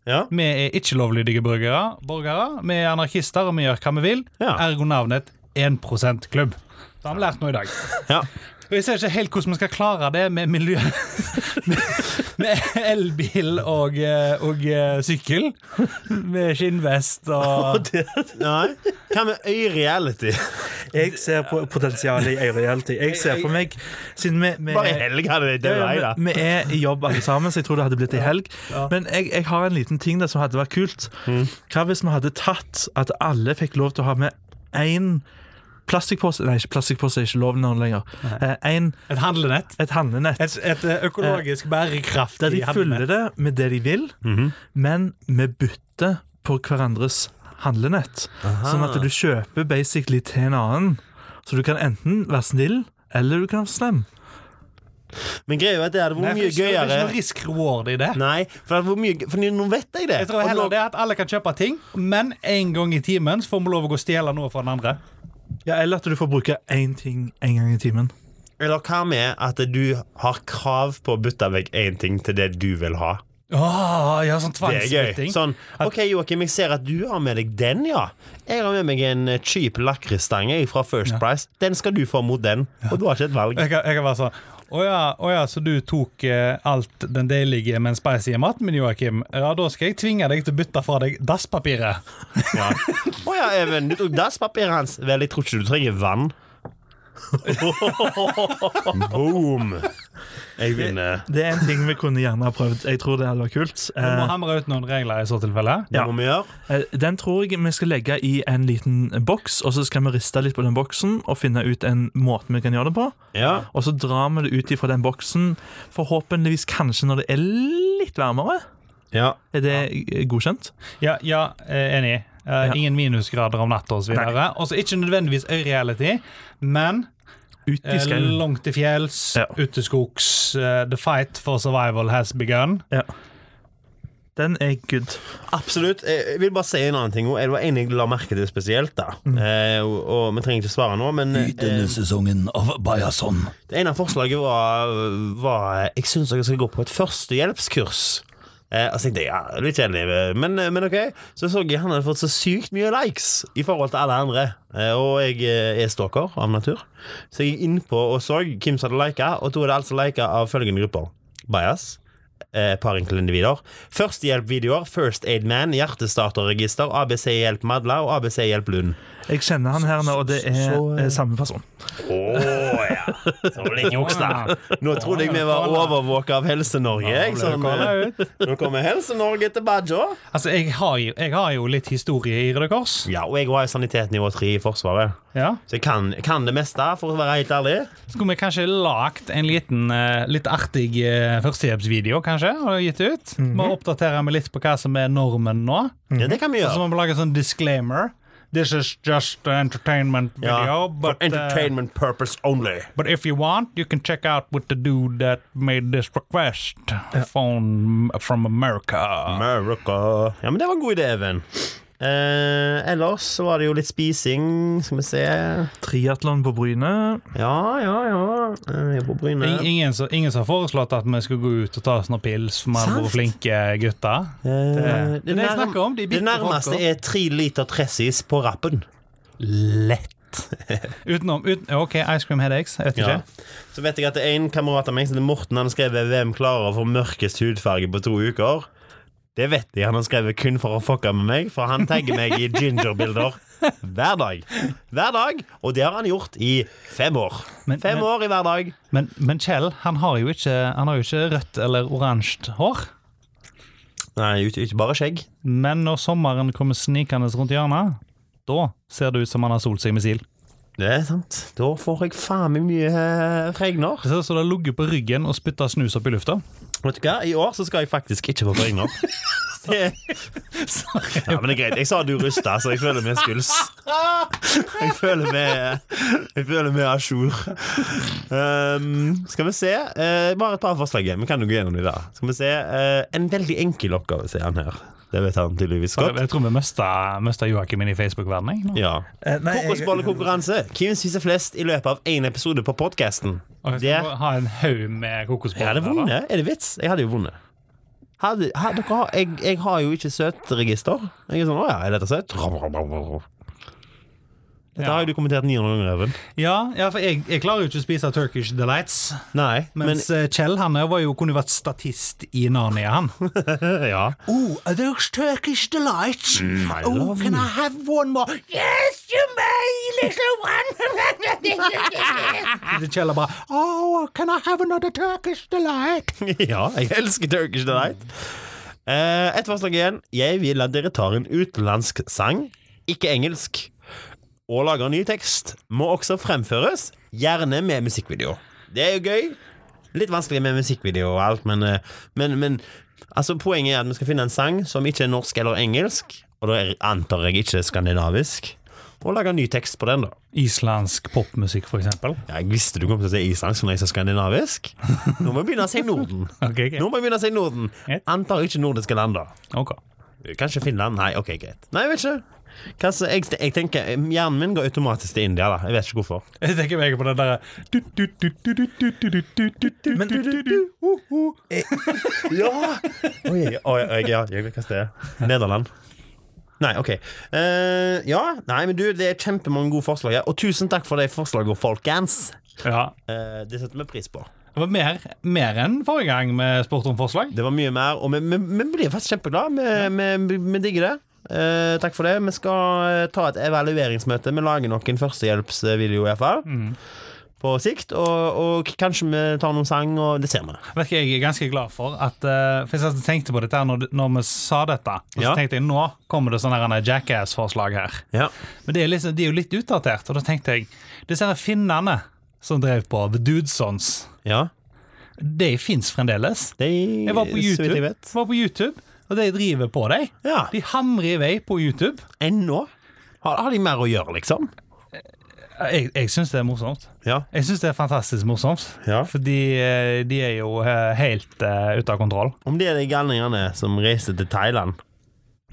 Ja.
Vi er ikke lovlydige borgere. borgere. Vi er anarkister, og vi gjør hva vi vil.
Ja.
Ergo navnet 1 %-klubb. Da har vi lært noe i dag.
Ja.
Og Jeg ser ikke helt hvordan vi skal klare det med miljø med- Med elbil og, eh, og eh, sykkel. Med skinnvest og
Nei. Hva med øyreality?
Jeg ser på potensialet i øyreality. Jeg ser for meg Siden vi, vi,
Bare i helg hadde det dødd, jeg,
ja,
da.
vi, vi er i jobb alle sammen, så jeg tror det hadde blitt i helg. Men jeg, jeg har en liten ting der som hadde vært kult. Hva hvis vi hadde tatt at alle fikk lov til å ha med én plastikkpose Nei, ikke plastikkpose er ikke lov nå lenger. Eh, En,
et handlenett.
et handlenett.
Et, et eh, økologisk bærekraftig
Der de fyller
handlenett.
det med det de vil, men vi bytter på hverandres handlenett. Sånn at du kjøper basically til en annen. Så du kan enten være snill, eller du kan være slem.
Men greia er jo at det hadde
Nei,
vært
for
mye
Det er ikke- det er
gøyere.
ikke noe risk-reward i det.
Nei, for, det hadde vært mye, gøy- for nå vet jeg det.
Jeg tror
Og
heller
nå-
det at alle kan kjøpe ting, men en gang i timen så får vi lov å gå og stjele noe fra den andre.
Ja, Eller at du får bruke én ting én gang i timen.
Eller hva med at du har krav på å bytte vekk én ting til det du vil ha?
Åh, ja, sånn
Det er gøy.
tvangsbytting.
Sånn, OK, Joakim, jeg ser at du har med deg den, ja. Jeg har med meg en eh, cheap lakrisstang jeg, fra First Price. Den skal du få mot den. Og du har ikke et valg.
Jeg kan, jeg kan være sånn Å ja, å ja, så du tok eh, alt den deilige, men spicy maten min, Joakim? Ja, da skal jeg tvinge deg til å bytte fra deg dasspapiret.
Ja. Å ja, Even, du tok dasspapiret hans. Vel, jeg tror ikke du trenger vann. Boom! Jeg vinner.
Det er en ting vi kunne gjerne ha prøvd. Jeg tror det hadde vært kult.
Du må
Eh,
hamre ut noen regler i så tilfelle.
Det må vi gjøre.
eh, den tror jeg vi skal legge i en liten boks, og så skal vi riste litt på den boksen og finne ut en måte vi kan gjøre det på.
Ja.
Og så drar vi det ut ifra den boksen, forhåpentligvis kanskje når det er litt varmere.
ja.
Er det eh, godkjent?
Ja, ja eh, enig. Eh,
Ja.
Ingen minusgrader om natta osv. Og så ikke nødvendigvis øyreality, men
Ut i
eh,
skauen.
langt til fjells,
Ja.
uteskogs, eh, the fight for survival has begun.
Ja. Den er good.
Absolutt. Eh, Jeg vil bare si en annen ting. også. Jeg var enig jeg la merke til det spesielt. da eh, og, og Vi trenger ikke svare nå, men eh,
sesongen av Bajason.
det ene forslaget var, var Jeg syns dere skal gå på et førstehjelpskurs. Eh, altså tenkte jeg, ja, litt kjedelig, eh, men, men ok. Så så jeg han hadde fått så sykt mye likes i forhold til alle andre. Eh, og jeg eh, er stalker av natur, så jeg gikk innpå og så hvem som hadde lika, og da er det altså lika av følgende grupper. Bias. Eh, par enkelte individer. Førstehjelpvideoer, First Aid Man, Hjertestarterregister, ABC Hjelp Madla og ABC Hjelp Lund.
Jeg kjenner han her nå, og det er
så-
eh, samme person.
Å ja. Så lenge juksa.
Ja.
Nå trodde jeg vi var overvåka av Helse-Norge.
Ja,
jeg,
ble
sånn,
du kallet
eh, Nå kommer Helse-Norge til Bajo.
Altså, jeg har, jo- jeg har jo litt historie i Røde Kors.
Ja, og jeg var i sanitet nivå 3 i Forsvaret,
Ja.
så jeg kan, kan det meste, for å være helt ærlig.
Skulle vi kanskje lagt en liten, eh, litt artig eh, førstehjelpsvideo, kanskje, og gitt ut?
Mhm.
Må oppdatere meg litt på hva som er normen nå.
Ja, det kan vi
Og så
gjøre.
må vi lage en sånn disclaimer. This is just an entertainment
Ja, for
video, Sånn but, uh,
entertainment purpose only.
but if you want, you can check out with the dude that made this request phone from America.
America. Ja, men det var en god idé, Even. Eh, ellers så var det jo litt spising. Skal vi se
Triatlon på Bryne.
Ja, ja, ja. Eh, Jeg er på
Ing-
Bryne.
Ingen, som- ingen som har foreslått at vi skulle gå ut og ta oss noen pils, for vi har vært flinke gutter.
Eh,
Det er det jeg snakker om, de bitte
det nærmeste
folka.
er tre liter Tressis på rappen.
Lett. Utenom uten, OK, Ice Cream Headaches. Jeg vet ikke.
Ja. Så vet jeg at det er en kamerat av meg som heter Morten. Han har skrevet 'Hvem klarer å få mørkest hudfarge på to uker'? Det vet jeg han har skrevet kun for å fucke med meg, for han tagger meg i gingerbilder hver dag. Hver dag, Og det har han gjort i fem år.
Men-
fem
men-
år i hver dag.
Men, men Kjell han har jo ikke, han har jo ikke rødt eller oransje hår.
Nei, ikke, ikke bare skjegg.
Men når sommeren kommer snikende rundt hjørnet, da ser det ut som han har solt seg med sil.
Det er sant. Da får jeg faen meg mye eh, fregner.
Det ser ut som det har ligget på ryggen og spytta snus opp i lufta.
Vet du hva, i år så skal jeg faktisk ikke få fregner. Det- Ja, men det er greit. Jeg sa du rusta, så jeg føler meg skuls. Jeg føler meg Jeg føler meg à jour. Um, skal vi se. Eh, bare et par forslag. igjen. Vi kan jo gå gjennom de der. Skal vi se. eh, en veldig enkel oppgave, sier han her. Det vet han tydeligvis godt.
Jeg tror vi mista mista Joakim inn i Facebook-verdenen. jeg, nå.
Ja.
Eh, nei, jeg-
Kokosbollekonkurranse. Hvem spiser flest i løpet av én episode på podkasten?
Og jeg skal
Der
ha en haug med
Jeg
kokosboller.
hadde
da.
vunnet. Er det vits? Jeg hadde jo vunnet. Hadde, ha- dere har, jeg, jeg har jo ikke søtregister. Jeg er sånn, å ja, er dette søtt? Ram, ram, ram, ram. Dette har jo du kommentert 900 ganger, Even.
Ja, ja, for jeg, jeg klarer jo ikke å spise Turkish Delights.
Nei, men
Mens eh, Kjell han her var jo, kunne jo vært statist i Narnia, han.
ja.
Oh, are those Turkish Delights?
My love.
Oh, Can I have one more? Yes, you may, little one.
Kjell er bare Oh, can I have another Turkish Delight?
ja, jeg elsker Turkish Delight. Uh, et forslag igjen. Jeg vil at dere tar en utenlandsk sang, ikke engelsk, og lager ny tekst. Må også fremføres, gjerne med musikkvideo. Det er jo gøy. Litt vanskelig med musikkvideo og alt, men, eh, men, men altså, poenget er at vi skal finne en sang som ikke er norsk eller engelsk, og da er- antar jeg ikke skandinavisk, og lage ny tekst på den, da.
Islandsk popmusikk, for eksempel.
Ja, jeg visste du kom til å si islandsk når jeg sa skandinavisk. Nå må vi begynne å si Norden.
Ok,
Nå må vi begynne å si Norden.
Ja.
Antar ikke nordiske land, da.
ok.
Kanskje Finland? Nei, ok, greit. Nei, jeg vet ikke. Hva så- jeg, jeg tenker, eh, Hjernen min går automatisk til India, da. Jeg vet ikke hvorfor.
Jeg tenker meg på den derre
Men-
uh,
Ja! Oi, oi, oi ja, jeg vet hva det er. Nederland. Nei, OK. Eh, ja, nei, men du, det er kjempemange gode forslag her. Og tusen takk for de forslagene, folkens.
Ja.
Eh, det setter vi pris på.
Det var mer, mer enn forrige gang vi spurte om forslag.
Det var mye mer, og vi, vi, vi blir faktisk kjempeglade. Vi, vi, vi digger det. Eh, takk for det. Vi skal eh, ta et evalueringsmøte. Vi lager nok en førstehjelpsvideo, i hvert fall. På sikt. Og, og kanskje vi tar noen sang, og det ser vi.
Vet ikke, Jeg er ganske glad for at eh, For jeg tenkte på dette her når, når vi sa dette. Og så
Ja.
tenkte jeg nå kommer det sånne her jackass-forslag her.
Ja.
Men det er, liksom, de er jo litt utdatert, og da tenkte jeg Disse her finnene som drev på The Dudesons, de fins fremdeles.
De,
Jeg var på
Så
YouTube,
vidt jeg vet.
var på YouTube og de driver på, de.
Ja.
De hamrer i vei på YouTube.
Ennå. Har, har de mer å gjøre, liksom?
Jeg, jeg syns det er morsomt.
Ja.
Jeg syns det er fantastisk morsomt.
Ja.
Fordi eh, de er jo eh, helt eh, ute av kontroll.
Om det er de galningene som reiser til Thailand.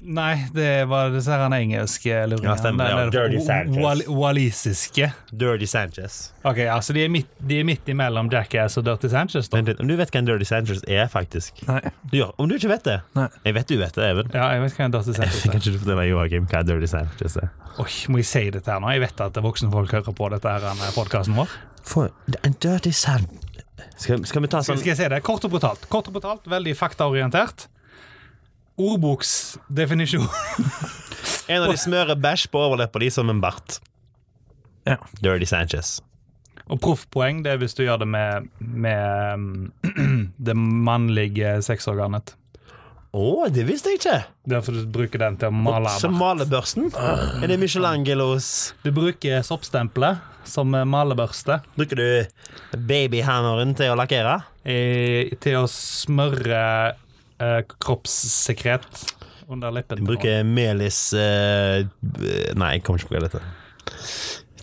Nei, det var disse her engelske luringene.
Ja, stemmer, ja.
Nei, det er
Dirty Sanchez.
wal- Walisiske.
Dirty Sanchez.
Ok, altså de er midt, de er midt imellom Jackass og Dirty Sanchez, da.
Vent litt, Om du vet hva en Dirty Sanchez er, faktisk
Nei.
du, gjør- Om du ikke vet det?
Nei.
Jeg vet du vet det, Even.
Ja, jeg vet hva en Dirty Sanchez
Kan
er.
ikke du fortelle Joakim hva Dirty Sanchez er?
Oi, må jeg si dette her nå? Jeg vet at voksne folk hører på dette her podkasten vår.
For en dirty sand skal, skal vi ta
Skal
sånn
skal jeg si det? Kort og brutalt. Kort og brutalt, Veldig faktaorientert. Ordboksdefinisjon.
En av de smører bæsj på overleppa di som en bart.
Ja.
Dirty Sanchez.
Og proffpoeng det er hvis du gjør det med, med mm, det mannlige sexorganet.
Å, det visste jeg ikke!
Det er fordi du bruker den til å male.
Som malebørsten. Er det Michelangelos
Du bruker soppstempelet som malebørste
Bruker du babyhammeren til å lakkere?
eh, til å smøre eh, kroppssekret under
Du
leppen.
bruker melis eh, b- Nei, jeg kommer ikke på hva det heter.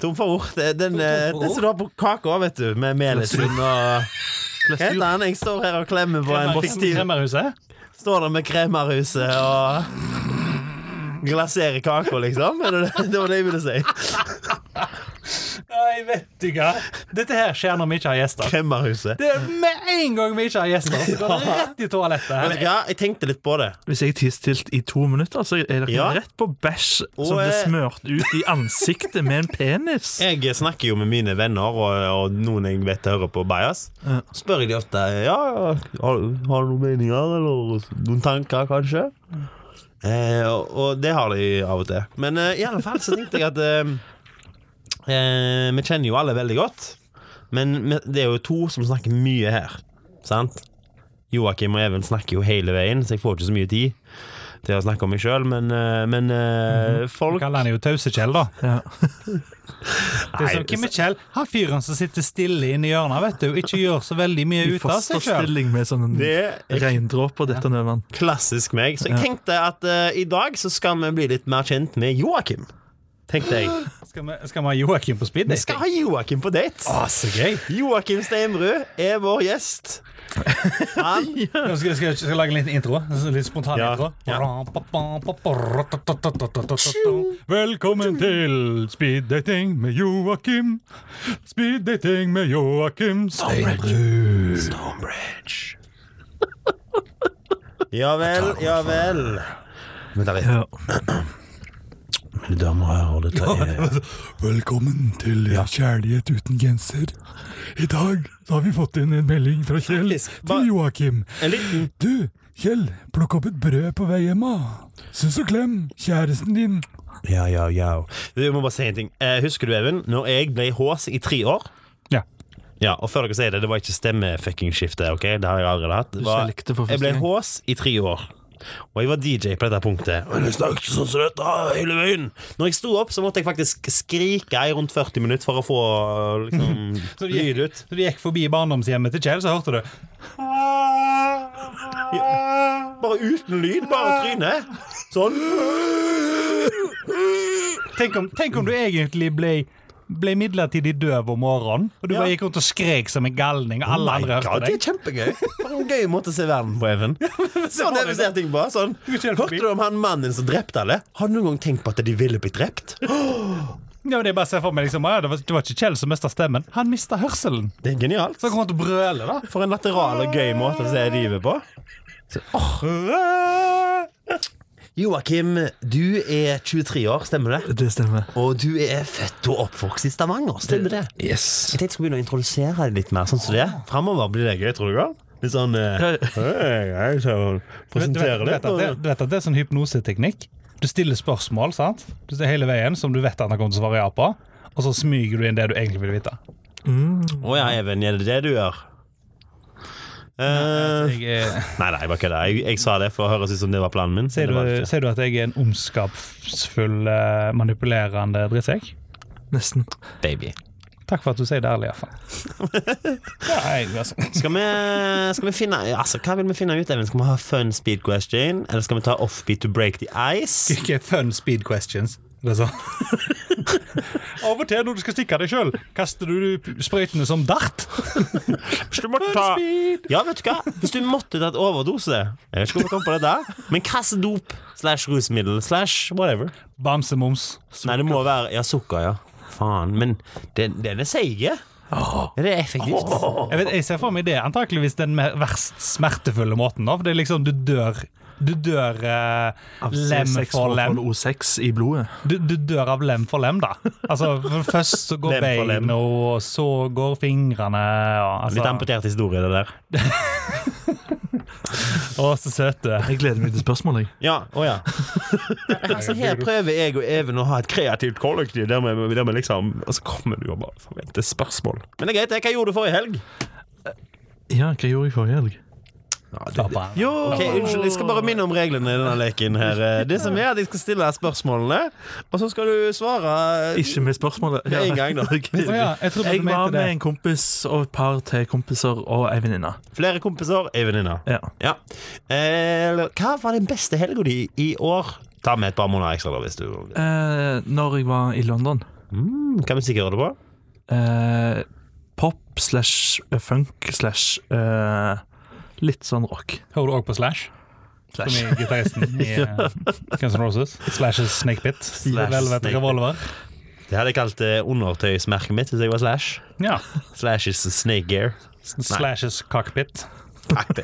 Tom for ord. Det er Den, eh,
Tom for
den som du har på kaka, vet du, med melisen og Hva heter den? Jeg står her og klemmer på en
Fikk du
postil.
kremmerhuset?
Står der med kremmerhuset og glaserer kaka, liksom? Er det, det var det jeg ville si.
Nei, vet du hva. Dette her skjer når vi ikke har gjester.
Kremmerhuset.
Det er Med en gang vi ikke har gjester, så går det rett i toalettet.
Vet du
her.
hva, jeg tenkte litt på det.
Hvis jeg tisser stilt i to minutter, så er dere
Ja.
rett på bæsj som
Og,
blir
eh,
smørt ut i ansiktet med en penis.
Jeg snakker jo med mine venner og, og noen jeg vet hører på Bajas. Spør jeg de ofte Ja, har, har du noen meninger eller noen tanker, kanskje. Eh, og, og det har de av og til. Men eh, i alle fall så tenkte jeg at eh, eh, Vi kjenner jo alle veldig godt, men vi- det er jo to som snakker mye her. Sant? Joakim og Even snakker jo hele veien, så jeg får ikke så mye tid. til å snakke om meg sjøl, men, eh, men eh,
Vi
folk
kaller han jo Tause-Kjell, da.
Ja.
Det er som Kim Kjell, han fyren som sitter stille inne i hjørnet, vet du, og ikke gjør så veldig mye
I
ut av seg sjøl.
fosterstilling med sånn
Det er
regndråper dette over den.
klassisk meg. Så jeg tenkte at eh, i dag så skal vi bli litt mer kjent med Joakim. Tenkte jeg.
Skal, vi- skal vi ha Joakim på speed
Vi skal
dating?
ha Joakim på date.
Å, så gøy!
Joakim Steinbrud er vår gjest. Han
Nå skal, skal, skal jeg lage en liten intro. en Litt spontan
Ja,
intro.
ja.
Velkommen til speeddating med Joakim. Speeddating med Joakim
Stonebridge. Ja vel, ja vel. Men da
Ja.
Mine damer og herrer, dette
Velkommen til Kjærlighet uten genser. I dag så har vi fått inn en melding fra Kjell
Faktisk, ba-
til Joakim.
er en liten
Du, Kjell, plukk opp et brød på vei hjemme. Syns og klem, kjæresten din.
Ja, ja, ja. Du, Jeg må bare si en ting. Eh, husker du, Even, når jeg ble hås i tre år?
Ja.
Ja, og før dere sier det, det var ikke stemmefuckingskifte, ok? Det har jeg allerede hatt. Det var-
svelgte for første
jeg ble
gang.
hås i tre år. Og jeg var DJ på dette punktet. Men jeg snakket sånn som dette hele veien. Når jeg sto opp, så måtte jeg faktisk skrike i rundt 40 minutter for å få liksom,
Så du
lyd
gikk,
ut.
så du gikk forbi barndomshjemmet til Kjell, så hørte du
Bare uten lyd, bare trynet. Sånn.
Tenk om, tenk om du egentlig ble ble midlertidig døv om morgenen, og du
Ja. Oh
bare gikk rundt og skrek som en galning. Og alle
My
andre
God, Det
hørte deg.
er kjempegøy. For en gøy måte å se verden på, Even. Sånn er det vi ser ting på. Sånn.
Du er ikke helt
Hørte
forbi.
du om han mannen som drepte alle? Har du noen gang tenkt på at de ville blitt drept?
Ja, men det er bare å se for meg liksom, ja, det, var, det var ikke Kjell som mista stemmen, han mista hørselen.
Det er genialt.
Så han kom til å brøle, da.
For en lateral og gøy måte å se livet på. Så, åh. Joakim, du er 23 år, stemmer det?
Det stemmer.
Og du er født og oppvokst i Stavanger, stemmer det?
Yes.
Jeg tenkte jeg skulle begynne å introdusere deg litt mer, sånn som det. Fremover blir det gøy, tror du ikke? Litt sånn eh, hei, hei, så
Du vet,
Presentere
du, vet
litt.
at det, du vet at det er sånn hypnoseteknikk. Du stiller spørsmål sant? Du ser hele veien som du vet at han kommer til å svare ja på, og så smyger du inn det du egentlig vil vite.
Å ja, Even, er det det du gjør? Eh,
altså, Jeg er,
nei, nei, jeg bare kødder. Jeg, jeg sa det for å høres ut som det var planen min.
ser,
men det var det
du,
ikke.
ser du at jeg er en ondskapsfull, eh, manipulerende drittsekk?
Nesten.
baby.
Takk for at du sier det ærlig, iallfall. Ja, jeg, altså.
Skal vi, skal vi finne Altså, Hva vil vi finne ut, Even? Skal vi ha fun speed question? Eller skal vi ta offbeat to break the ice?
Ikke fun speed questions. Det er sånn. Av og til når du skal stikke deg sjøl, kaster du sprøytene som dart.
Hvis du måtte ta Ja, vet du hva? Hvis du måtte tatt overdose Jeg vet ikke om jeg kom på det der, men hvilket dop slash rusmiddel slash whatever?
Bamsemums.
Nei, det må være Ja, sukker, ja. Faen. Men den, den er seige. Er det effektivt?
Jeg, vet, jeg ser for meg det er antakeligvis den mer- verst smertefulle måten. Da. For det er liksom, du dør Du dør eh, lem for lem.
O6 i blodet.
Du, du dør av lem for lem, da. Altså, for Først så går
Lem for lem.
beina, og så går fingrene. Og,
Litt
altså,
amputert historie, det der.
å, så søte.
Jeg gleder meg til spørsmålet. jeg.
Ja, å ja. altså, her prøver jeg og Even å ha et kreativt kollektiv, der vi, der vi liksom Og så kommer du og bare forventer spørsmål. Men det er greit, det. hva gjorde du forrige helg?
Ja, hva gjorde jeg forrige helg?
Pappa.
Jo!
Ok, Unnskyld, jeg skal bare minne om reglene i denne leken her. Eh, Det som er at Jeg skal stille deg spørsmålene, og så skal du svare
Ikke med spørsmålet.
med en gang.
Å
da
ja, jeg trodde
Jeg var
du mente det.
med en kompis og et par til kompiser og ei venninne.
Flere kompiser, ei venninne.
Ja.
Ja. Eh, hva var den beste helga di i år? Ta med et par måneder ekstra, da, hvis du Mm,
Eh, når jeg var i London
Hva musikk hører du på?
eh, Pop slash eh, funk slash eh, litt sånn rock.
Hører du òg på Slash? Som
Slash.
i gitaristen i eh, Guns N' Roses. Slashes Snake Pit. Velvet
Snake Pit.
Revolver.
Det hadde jeg kalt eh, undertøysmerket mitt hvis jeg var Slash.
Ja.
Slash is snake gear.
Slashes Cockpit.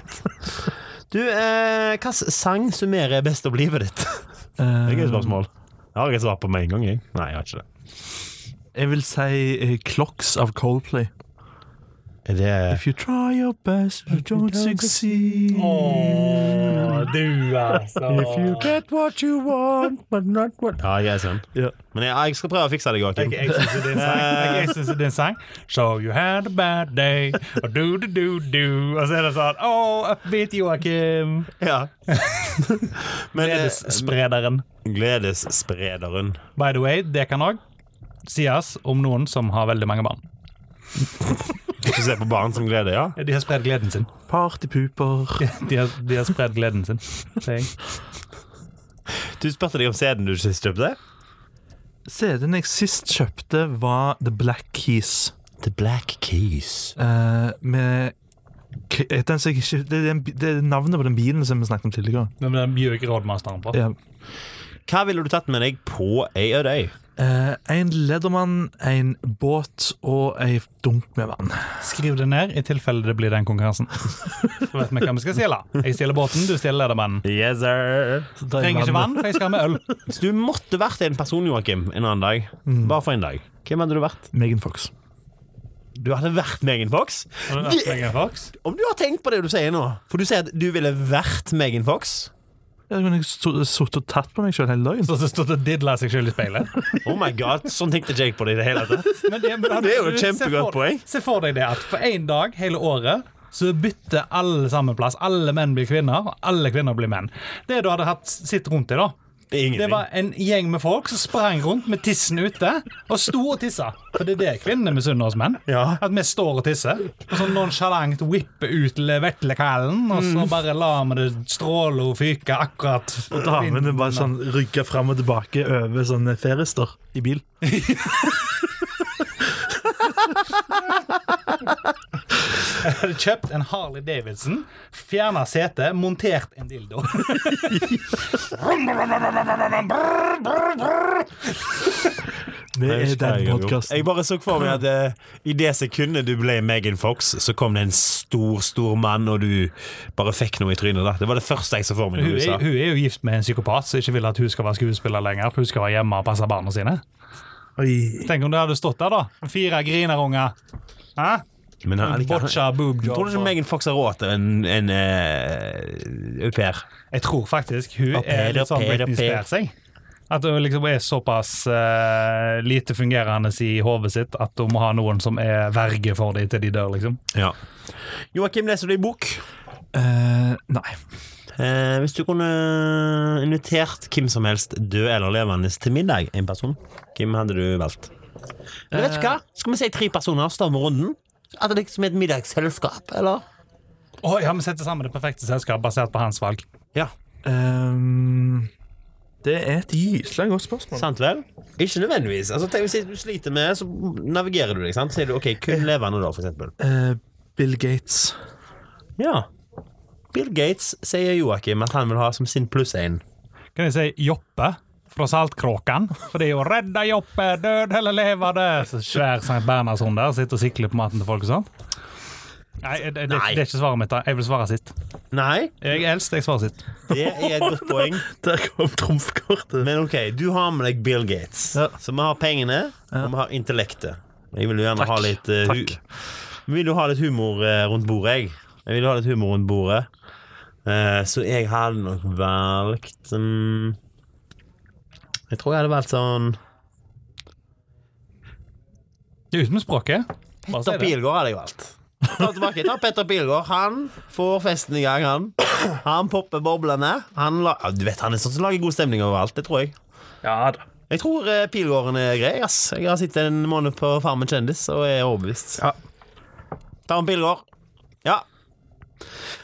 Du, eh, hva s- sang summerer best opp livet ditt?
Eh,
Det er et spørsmål. Jeg har ikke svar på med en gang, jeg. Nei, jeg har ikke det.
jeg vil si eh, Clocks av Coldplay.
Er det
If you try your best, you don't succeed.
du, altså.
get what you want, but not what Ja, jeg er sånn. Men jeg, jeg skal prøve å fikse det, Joakim.
Jeg, jeg syns det er en sang. Jeg, jeg synes det er en sang. So you had a bad day, og do do do do Og så er det sånn Oh, upbeat Joakim.
Ja. Men eh,
Gledessprederen.
Gledessprederen.
By the way, det kan òg sies om noen som har veldig mange barn.
Ikke se på barn som gleder, ja?
De har spredd gleden sin.
Partypooper.
De har, de har spredd gleden sin. sier jeg.
Du spurte deg om CD-en du sist kjøpte?
CD-en jeg sist kjøpte, var The Black Keys.
The Black Keys.
Eh, med k- den som jeg ikke, det, er den, bi- det er navnet på den bilen som vi snakket om tidligere.
Men den bjør ikke rådmasteren på.
Ja.
Hva ville du tatt med deg på ei ødøy?
Eh, en Ledermann, en båt og ei dunk med vann.
Skriv det ned i tilfelle det blir den konkurransen. Så vet vi hva vi skal stjele. Jeg stjeler båten, du stjeler ledermannen.
Yes, sir.
Trenger ikke vann, for jeg skal ha med øl.
Så du måtte vært en person, Joakim, en annen dag. Bare for en dag. Hvem hadde du vært?
Megan Fox.
Du hadde vært Megan Fox? Om du har tenkt på det du sier nå. For du sier at du ville vært Megan Fox.
Jeg kunne sittet og tatt på meg sjøl hele dagen.
Så så stått og didla seg sjøl i speilet.
Oh my god, Sånn tenkte ikke jeg på det i det hele tatt.
Men det, men,
Det er jo et
du- se
kjempegodt
for-
poeng.
Se for deg det at for én dag hele året så bytter alle sammen plass. Alle menn blir kvinner, og alle kvinner blir menn. Det du hadde hatt sitt rundt i, da.
Det er
Det
ingenting.
var en gjeng med folk som sprang rundt med tissen ute og sto og tissa. For det er det kvinnene misunner oss menn.
Ja.
At vi står og tisser. Og sånn nonsjalant vipper ut le- vetlekalen, og så
Mm.
bare lar vi det stråle og fyke akkurat.
Og damene bare sånn rygga fram og tilbake over sånne ferister i bil.
Jeg hadde kjøpt en Harley Davidson, fjerna setet, montert en dildo.
Det
Jeg
er
husker
den
jeg gjorde.
podkasten.
Jeg bare så for meg at eh, i det sekundet du ble Megan Fox, så kom det en stor, stor mann, og du bare fikk noe i trynet. da Det var det første jeg så for meg.
Hun
når du
er,
sa
hun er jo gift med en psykopat som ikke vil at hun skal være skuespiller lenger. For hun skal være hjemme og passe barna sine.
Oi.
Tenk om det hadde stått der, da. Fire grinerunger. Hæ?
Men han, jeg
Boccia boob job.
tror du ikke Megan Fox har råd til en, en eh, au pair?
Jeg tror faktisk hun
Au pair,
er litt sånn
au pair,
Britney
au pair.
Spears. jeg. At hun liksom er såpass eh, lite fungerende i hodet sitt at hun må ha noen som er verge for dem til de dør, liksom.
Ja. Joakim, leser du i bok?
Eh, nei.
Eh, hvis du kunne invitert hvem som helst, død eller levende, til middag, en person, hvem hadde du valgt? Eller vet du hva? Skal vi si tre personer, starte med runden? At det liksom er et middagsselskap, eller?
Å, ja, vi setter sammen det perfekte selskap basert på hans valg.
Ja,
Ehm, det er et gyselig godt spørsmål.
sant vel? Ikke nødvendigvis. Altså, tenk, hvis du sliter med det, så navigerer du deg, sant? Sier du ok, kun levende da, for eksempel.
Eh, Bill Gates.
Ja. Bill Gates sier Joakim at han vil ha som sin pluss én.
Kan jeg si Joppe fra Saltkråkan? For det er jo 'Redda Joppe, død eller levende'! Så svær Sankt Bernhardshund der sitter og sikler på maten til folk og sånn. Nei, det, det, det
Nei.
er ikke svaret mitt. da. Jeg vil svare sitt.
Nei,
Jeg er eldst, jeg svarer sitt.
det er et godt poeng.
Der kom trumfkortet.
Men ok, du har med deg Bill Gates.
Ja.
Så vi har pengene, og vi har intellektet. Jeg vil jo gjerne
Takk.
ha litt eh, hu-
Takk.
Jeg vil jo ha litt humor eh, rundt bordet, jeg. Jeg vil jo ha litt humor rundt bordet. Eh, så jeg hadde nok valgt mm, Jeg tror jeg hadde valgt sånn
Det er uten språket. Bare si
Petter
det.
Pilgaard hadde jeg valgt. Ta tilbake, ta Petter Pilgaard. Han får festen i gang, han. Han popper boblene. Han, la, ja, du vet, han er sånn som lager god stemning overalt. Det tror jeg.
Ja da.
Jeg tror eh, Pilgården er grei. ass Jeg har sittet en måned på Farmen kjendis og er overbevist.
Ja.
Ta en Pilgård. Ja.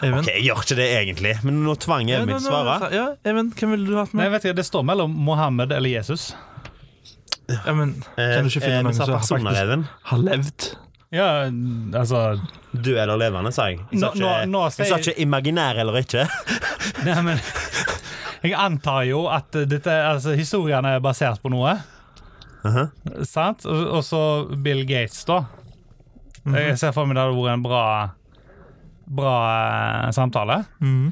Even.
Ok, Jeg gjør ikke det egentlig, men nå tvang jeg meg til å svare.
Ja, Even, hvem ville du hatt
Nei,
med?
vet ikke, Det står mellom Mohammed eller Jesus.
Ja, men,
Eh,
kan du
eh,
ikke finne
vi
noen
sa
som
personer,
faktisk
Even.
har levd?
Ja, altså
Død eller levende, sa jeg. Jeg sa
Nå- nå- nå
ikke, jeg
sier-
sa ikke imaginær eller ikke.
Nei, men Jeg antar jo at dette, altså, historien er basert på noe. Sant? Og, og så Bill Gates, da. Jeg ser for meg det hadde vært en bra Bra eh, samtale.
Mellom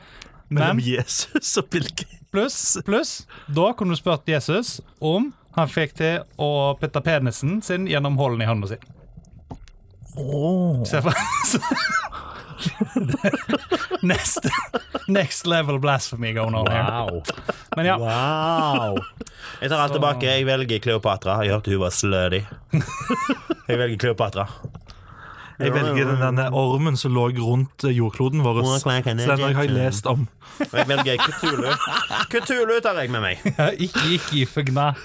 Men
Jesus og Bill Gates.
pluss, pluss Da kunne du spurt Jesus om han fikk til å putte penisen sin gjennom hullet i hånda si. Se for- Next, next level blasphemy going on here.
Wow.
Men ja,
Wow. Jeg tar alt tilbake. Jeg velger Kleopatra. Jeg hørte hun var slutty. Jeg velger Kleopatra.
Jeg velger den denne ormen som lå rundt eh, jordkloden vår. Så den har jeg lest om.
Og jeg velger Kutulu. Kutulu tar jeg med meg.
ikke, ikke fugna.
Ja,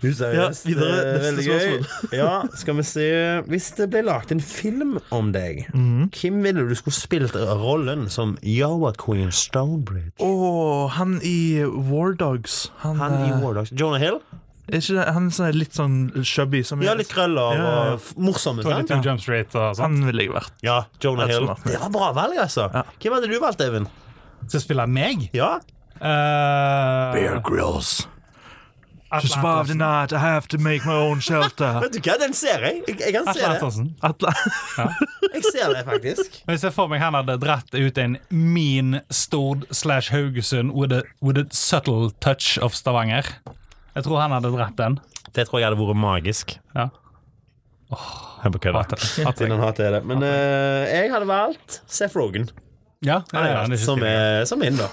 videre,
Eh,
neste
veldig gøy. Ja, skal vi se Hvis det ble lagt en film om deg,
Mhm.
hvem ville du skulle spilt rollen som Joaquin Stonebridge?
Å, han i War Dogs. Han,
Han i
eh,
War Dogs. Jonah Hill?
er ikke det, han som er litt sånn chubby. Som
Ja, litt krøller
Ja, ja.
og f- morsom. sant?
22 Jump Street og sånn.
Han ville jeg vært.
Ja, Jonah
Jeg
Hill.
tror det.
Det var bra valg, altså. Hvem hadde du valgt, Even?
Som spiller meg?
Ja?
Uh,
Bear Grylls.
To survive the night, I have to make my own shelter.
Vet du hva, den ser jeg. Jeg, jeg kan se
Atle
det.
Antonsen.
Atle.
Jeg ser det faktisk.
Hvis jeg får meg han hadde dratt ut en min Stord slash Haugesund with a, with a subtle touch of Stavanger. Jeg tror han hadde dratt den.
Det tror jeg hadde vært magisk.
Ja.
Jeg bare kødder.
Hater det. Hater det.
Siden han hater det. Men eh, jeg hadde valgt Seth Rogan,
Ja, det er han, det er
som
ikke
er, som er inn, da.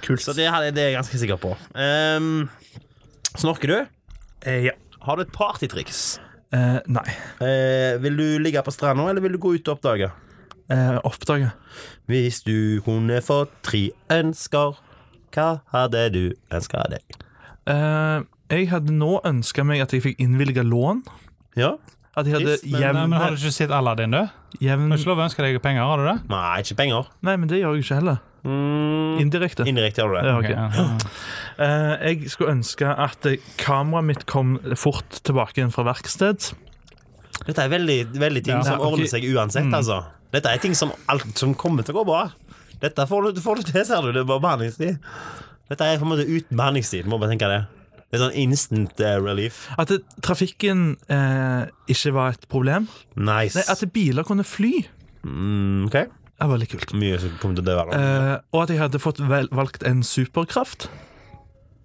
Kult. Så det, hadde- det er jeg ganske sikker på. Ehm, snorker du?
Eh, ja.
Har du et partytriks?
Eh, nei.
Eh, vil du ligge på stranda, eller vil du gå ut og oppdage?
Eh, oppdage.
Hvis du kunne fått tre ønsker, hva hadde du ønska deg?
Eh, jeg hadde nå ønska meg at jeg fikk innvilga lån.
Ja?
At jeg hadde
Trist, men-
Nei, men Har
jevne
du ikke sett Aladdin, du? Du
jevn,
har ikke lov å ønske deg penger, har du det?
Nei, ikke penger.
Nei, men det gjør jeg ikke heller.
Mm,
Indirekte.
indirekte gjør du det.
Ja, ok.
Ok, ja.
Eh, jeg skulle ønske at eh, kameraet mitt kom fort tilbake igjen fra verksted.
Dette er veldig, veldig ting
Ja.
som
Ja, ok. Mm.
ordner seg uansett, altså. Dette er ting som, alt, som kommer til å gå bra. Dette får du, får du til, ser du. Det er bare behandlingstid. Dette er på en måte uten behandlingstid, må bare tenke det. Det er sånn instant eh, relief.
At eh, trafikken eh, ikke var et problem.
Nice.
Nei, at biler kunne fly.
mm, ok.
Det var veldig kult.
Mye som kommer til å dø av det.
Eh, og at jeg hadde fått vel, valgt en superkraft.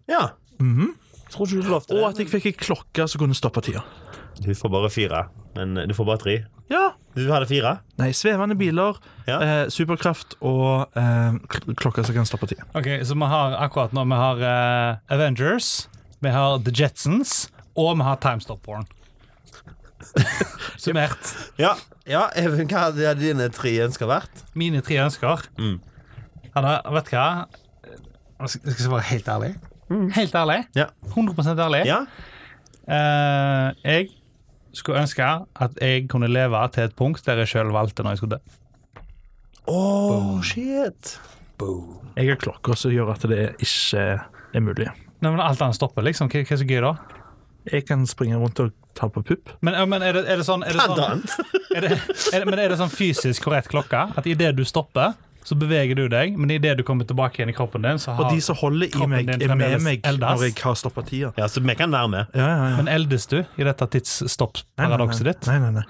Ja. Jeg Tror ikke du får lov til
Og
det.
at jeg fikk ei klokke som kunne stoppe tida.
Du får bare fire. Men eh, du får bare tre.
Ja.
Du hadde fire?
Nei, svevende biler,
Ja.
eh, superkraft og eh, kl- klokker som kan stoppe tida.
Ok, Så vi har akkurat nå Vi har eh, Avengers, vi har The Jetsons, og vi har Time Stop Porn. Summert.
Ja. ja. Even, hva hadde dine tre ønsker vært?
Mine tre ønsker
Mm.
Han har, vet du hva Jeg skal jeg skal være helt ærlig Helt ærlig,
Mm. Ja.
100% ærlig
Ja?
Eh, Jeg skulle ønske at jeg kunne leve til et punkt Der jeg selv valgte når jeg skulle dø
Oh, shit.
Jeg har klokker som gjør at det ikke er mulig.
Nei, men alt annet stopper liksom Hva, hva er så gøy da?
Jeg kan springe rundt og ta på pupp.
Men, eh, men er, det, er det sånn, er det
Blant
sånn,
annet.
er det, er det, men er det sånn fysisk korrekt klokka At i det du stopper så beveger du deg Men i det du kommer tilbake igjen i kroppen din så
Og
har,
de som holder i
kroppen
meg,
din
er med
fremdeles
meg
eldes.
når jeg har stoppa tida.
Ja, så vi kan være med.
Ja, ja, ja.
Men eldes du i dette
Nei, nei,
tidsstopp-paradokset
nei.
ditt?
Nei, nei, nei.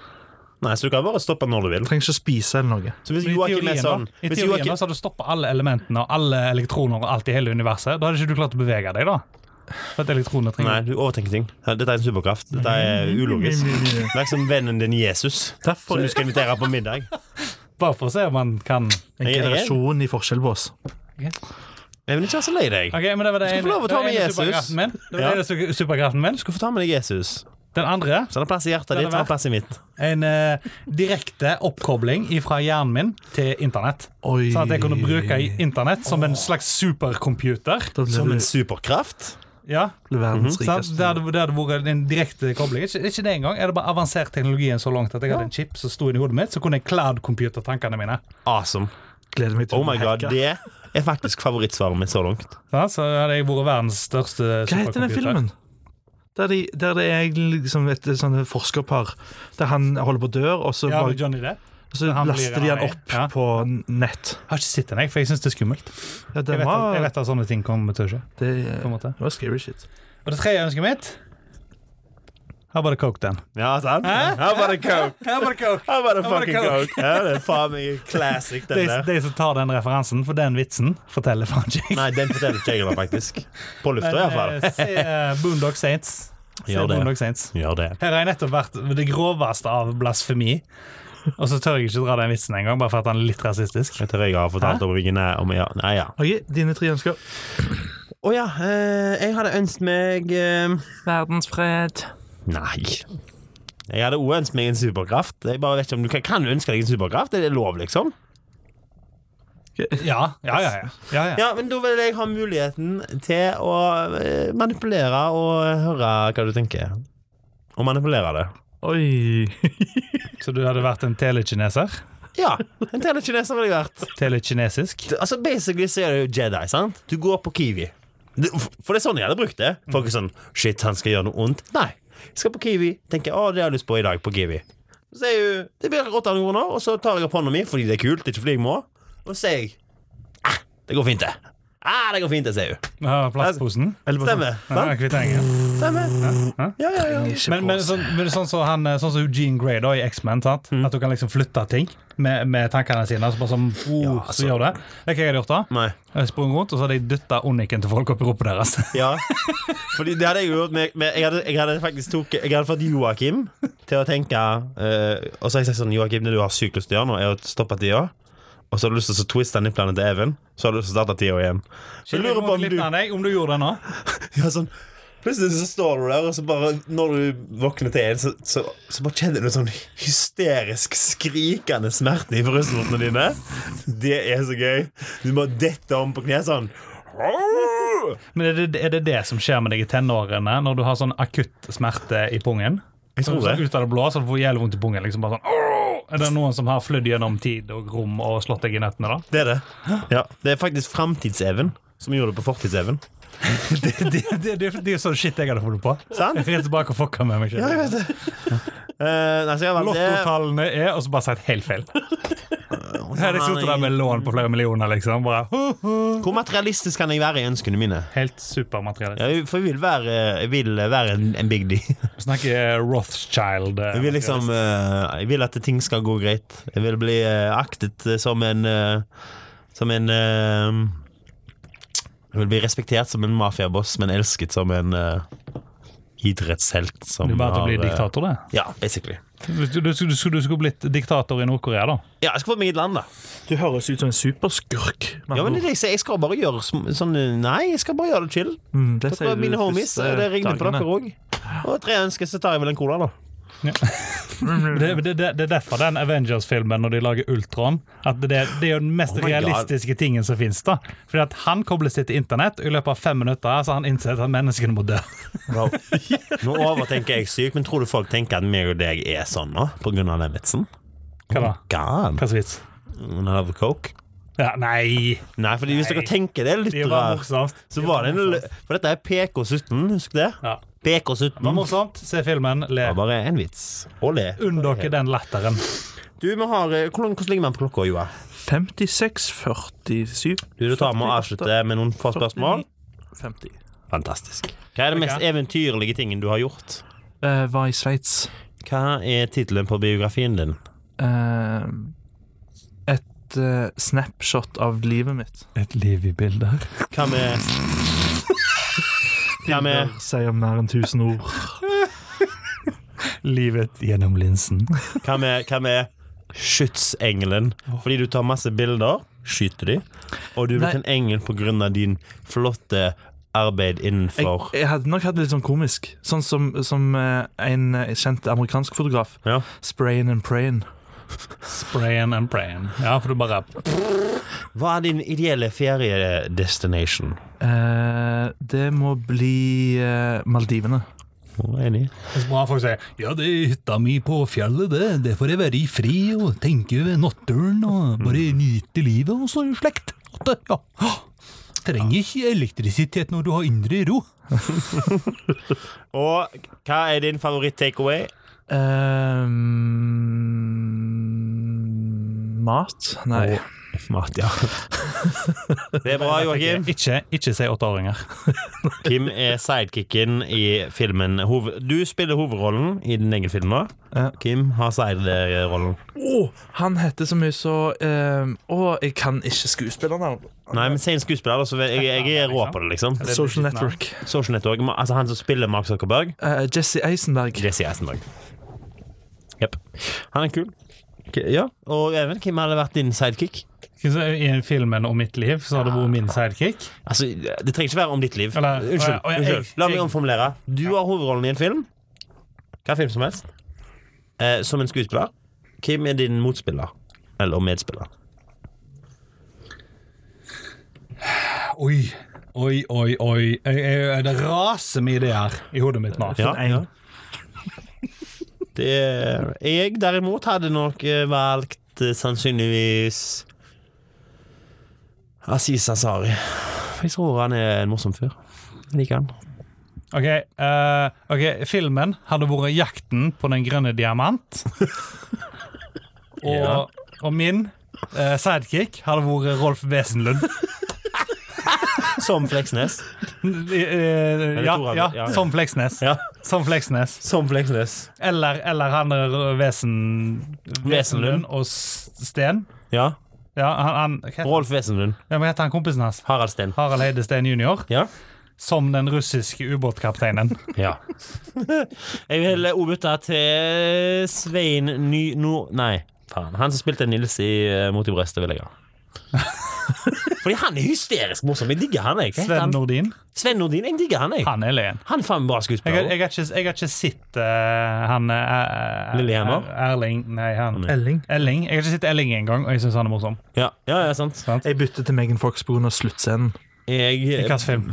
Nei, så du kan bare stoppe når du vil.
Trenger ikke spise eller noe.
Så hvis
Men I
Joakim er
teorien,
sånn
da, i
hvis
teorien
Joakim-
da, så hadde du stoppa alle elementene og alle elektroner og alt i hele universet. Da hadde ikke du klart å bevege deg, da. For at elektronene
Nei,
trenger
du overtenker ting. Dette er en superkraft. Dette er ulogisk. Det er liksom vennen din Jesus som du skal invitere på middag.
Bare for å se om man kan OK,
En
Jeg- jeg-
generasjon i forskjell på oss.
Jeg vil ikke være så lei deg.
men det var det
Du skal få
ene,
lov å
det
ta
var
med
ene
Jesus.
superkraften min. Det var
Ja.
det ene su- superkraften min.
Du får ta med deg Jesus.
Den andre
Så han har plass i hjertet
er
ditt, han har plass i mitt.
en eh, direkte oppkobling fra hjernen min til internett.
Oi.
Sånn at jeg kunne bruke i internett som en slags supercomputer.
Da ble
Som en
du
superkraft?
Ja,
verdens
sant? Det
rikeste.
hadde, det hadde vært en direkte kobling. Ikke, ikke det engang. Er det bare avansert teknologien så langt at jeg hadde en chip som sto inni hodet mitt, så kunne jeg cloud-computer tankene mine.
Awesome.
Gleder meg til
Oh
å
my
bli
god,
hacka.
det er faktisk favorittsvaret mitt så langt.
Sant? Så hadde jeg vært verdens største
Hva heter den filmen? Der, de, der det er liksom et sånn forskerpar der han holder på dør, og så,
Ja,
bare,
med Johnny Depp.
og så
han blir
laster de han
han i.
opp
Ja.
på nett.
Jeg har ikke sett den, jeg, for jeg syns det er skummelt.
Ja, det
Jeg vet, at, jeg
var,
vet at sånne ting kommer til å skje.
det,
på en måte.
det var scary shit.
Og det tredje ønsket mitt Her var det coke, den.
Ja, sant? How about a coke?
Her var det coke.
How about a
How about a
fucking
coke?
coke? Ja, det er faen meg classic,
De,
den der.
de som tar den referansen, for den vitsen, forteller faen ikke jeg.
Nei, den forteller ikke jeg, da, faktisk. På lufta,
Men, eh,
iallfall.
Se eh, Boondock Saints.
Gjør
Se
det.
Boondock Saints.
Gjør det.
Her har jeg nettopp vært ved det groveste av blasfemi. Og så tør jeg ikke dra den vitsen engang, bare for at han er litt rasistisk.
Jeg tror jeg har fortalt om hvilken jeg- om ja, Nei, ja.
Ok, dine tre ønsker.
Å ja, eh, jeg hadde ønsket meg eh,
Verdensfred.
Nei. Jeg hadde også ønsket meg en superkraft. Jeg bare vet ikke om du kan, kan du ønske deg en superkraft? Er det lov, liksom?
Ja, ja, ja. ja. ja, ja.
Ja, men da vil jeg ha muligheten til å eh, manipulere og høre hva du tenker. Og manipulere det.
Oi.
Så du hadde vært en telekineser?
Ja, en telekineser ville jeg vært.
Telekinesisk?
Det- Altså, basically så er det jo Jedi, sant? Du går på Kiwi. Det- For det er sånn jeg hadde brukt det. Folk er sånn Shit, han skal gjøre noe ondt. Nei. Jeg skal på Kiwi. Tenker å, det har jeg lyst på i dag, på Kiwi. Så er jo Det blir 800 kroner, og så tar jeg opp hånda mi fordi det er kult, ikke fordi jeg må, og så sier jeg ah, det går fint, det. Ah, det går fint, det, sier hun.
Ja, Plastposen?
Stemmer.
Ja,
Sant?
kvitteringen.
Stemmer.
Hæ?
Ja, ja, ja.
Men, men, sånn, men sånn som han, eh, sånn som Gene Grey da, i X-Men, sant?
Mm.
at du kan liksom flytte ting med, med tankene sine. Altså bare sånn, oh,
altså.
så gjør det. Det er hva jeg hadde gjort da.
Nei.
Jeg sprang rundt, og så hadde jeg dytta onniken til folk opp i rumpa deres.
Ja. Fordi det hadde jeg gjort med, med jeg, hadde, jeg hadde faktisk tok Jeg hadde fått Joakim til å tenke eh, Og så har jeg sagt sånn Joakim, det du har sykt lyst til å gjøre nå, er å stoppe tida. Og så har du lyst til å så twiste nipplene til Even. Så har du lyst til å starte tida igjen. Så jeg lurer på om du
Litt av deg, om du gjorde det nå.
ja, sånn, Plutselig så står du der, og så bare når du våkner til igjen, så, så, så bare kjenner du sånn hysterisk skrikende smerte i brystvortene dine. Det er så gøy. Du må dette om på kne sånn.
Men er det, er det det som skjer med deg i tenårene, når du har sånn akutt smerte i pungen?
Jeg tror
Så
det.
Ut av det blå, så du får jævlig vondt i pungen. liksom bare sånn, «Åh!» Er det noen som har flydd gjennom tid og rom og slått deg i nøttene, da?
Det er det. Ja, det er faktisk framtids-Even som gjorde det på fortids-Even.
Det, det, det, det, det er jo sånn shit jeg hadde funnet på.
Sant?
Jeg rir tilbake og fucka med meg selv.
Eh, nei, så jeg har valgt det.
Lottotallene er, og så bare sagt helt feil.
sånn
Her er liksom det suttet der med lån på flere millioner, liksom. Bare, «Hu, hu».
Hvor materialistisk kan jeg være i ønskene mine?
Helt supermateriell.
Ja, jeg- for jeg vil være, eh, jeg vil være en, en big deal.
Snakker eh, Rothschild. eh,
Jeg vil liksom eh, Jeg vil at ting skal gå greit. Jeg vil bli eh, aktet eh, som en eh, Som en eh, Jeg vil bli respektert som en mafiaboss, men elsket som en eh, idrettshelt. Som
Du er bare til å bli
har, eh,
diktator, det.
Ja, basically.
Du, du, du, skulle- du skulle blitt diktator i Nord-Korea, da.
Ja, jeg skal få meg et land, da.
Du høres ut som en superskurk. med
Ja, men det,
andre
er det jeg, sier. jeg skal bare gjøre sm- sånn Nei, jeg skal bare gjøre det chill.
ord. Mm, det
Jeg skal være mine homies, og det regner på dere òg. Og tre ønsker, så tar jeg vel en cola, da. Mm.
Det, det, det, det er derfor den Avengers-filmen, når de lager Ultron at det, det er jo den mest
Oh my God.
realistiske tingen som fins. da. Fordi at han kobler seg til internett, og i løpet av fem minutter så har han innsett at menneskene må dø.
Nå overtenker jeg sykt, men tror du folk tenker at meg og deg er sånn nå, på grunn av den vitsen?
Hva da?
God.
Hva slags vits?
Another coke?
Ja, nei
Nei, fordi hvis dere tenker det
Det
litt
var
rart,
morsomt.
så var det en lø- For dette er PK17, husk det?
Ja. Det var
PK17.
morsomt. Se filmen, le.
Det var bare en vits. Og le.
Unn dere den latteren.
Du, vi har eh, Hvordan, hvordan ligger vi an på klokka, Joa?
56, 47
Du, du tar med å avslutte med noen få spørsmål.
50.
Fantastisk. Hva er den mest eventyrlige tingen du har gjort?
Eh, var i Sveits.
Hva er tittelen på biografien din?
Eh, et eh, snapshot av livet mitt
Et liv i bilder.
Hva med Hva med
sier mer enn 1000 ord.
Livet gjennom linsen.
Hva med, hva med skytsengelen? Fordi du tar masse bilder, skyter de, og du er blitt
Nei.
en engel på grunn av din flotte arbeid
Jeg,
innenfor
jeg hadde nok hatt det litt sånn komisk. Sånn som, som eh, en eh, kjent amerikansk fotograf.
Ja.
Sprayin' and prayin'.
Sprayin' and prayin'. Ja, for du bare
Hva er din ideelle feriedestination?
Eh, det må bli eh, Maldivene.
Oh, enig.
Så må folk si Ja, det er hytta mi på fjellet, det. Det får jeg være i fred og tenke ved naturen og bare nyte livet og så slekt. At det- Ja. Åh, Trenger ikke elektrisitet når du har indre ro.
Og hva er din favoritt-takeaway?
Ehm, Eh, mat? Nei.
Mat, ja.
Det er bra, Joakim.
Ikke, ikke si åtteåringer.
Kim er sidekicken i filmen. Hov du spiller hovedrollen i din egen film nå.
Ja.
Kim har siderollen.
Å, han heter så mye så eh, Å, jeg kan ikke skuespillernavn.
Nei, men si en skuespiller, altså. Jeg, jeg er rå på det, liksom.
Social Network.
Social Network. ma- Altså han som spiller Mark Zuckerberg.
Eh, Jesse Eisenberg.
Jesse Eisenberg. Jepp. Han er kul. K- Ja. Og Even, hvem hadde vært din sidekick?
I filmen om mitt liv så har det vært min sidekick.
Altså, Det trenger ikke være om ditt liv.
Eller-
Unnskyld.
Å ja, å ja, jeg-
unnskyld. La meg
jeg-
omformulere. Du har hovedrollen i en film. Hva film som helst. Eh, som en skuespiller. Hvem er din motspiller? Eller medspiller?
Oi, oi, oi. oi. Jeg, jeg, det raser med ideer i hodet mitt nå.
Ja, ja. Det er, jeg derimot hadde nok eh, valgt eh, sannsynligvis Aziz Ansari. Jeg tror han er en morsom fyr. Jeg liker han.
Ok, eh, ok, Filmen hadde vært 'Jakten på den grønne diamant'. og, og min eh, sidekick hadde vært Rolf Wesenlund.
Som Fleksnes.
Eh, eh, ja,
Tore?
ja,
Ja.
som Fleksnes.
Ja.
Som Fleksnes.
Som Fleksnes.
Eller, eller han der Vesen, Wesenlund og S- Sten.
Ja.
Ja, han, han, hva heter-
Rolf Wesenlund.
ja, men heter han kompisen hans?
Harald Steen.
Harald Heide Steen jr.
Ja.
Som den russiske ubåtkapteinen.
Ja. jeg vil også bytte til Svein Ny... Nord... Nei, faen. Han som spilte Nils i eh, Mot i brøstet, vil jeg ha. Fordi han er hysterisk morsom. Jeg digger han. jeg Hva heter
Sven
han?
Nordin.
Sven Nordin. Jeg digger han, jeg.
Han er løyen.
Han er faen meg bra
Jeg, har-
skuespiller.
jeg, har ikke, jeg har ikke sett eh, han eh, eh,
Lillehammer?
Er- Erling Nei, han
Nei.
Elling.
Elling. Jeg har ikke sett Elling engang, og jeg syns han er morsom.
Ja, ja, ja sant.
Jeg bytter til Megan Fox pga. sluttscenen.
Jeg,
Hvilken film?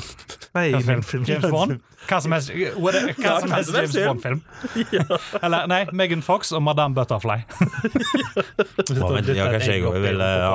Nei,
Hva
ingen
film?
film.
James Bond? Hva som helst, what, hva
Ja,
som
hva
helst
som helst
James Bond-film. Eller nei, Megan Fox og Madame Butterfly.
Å, vent, ja, kanskje jeg òg vil eh, ja.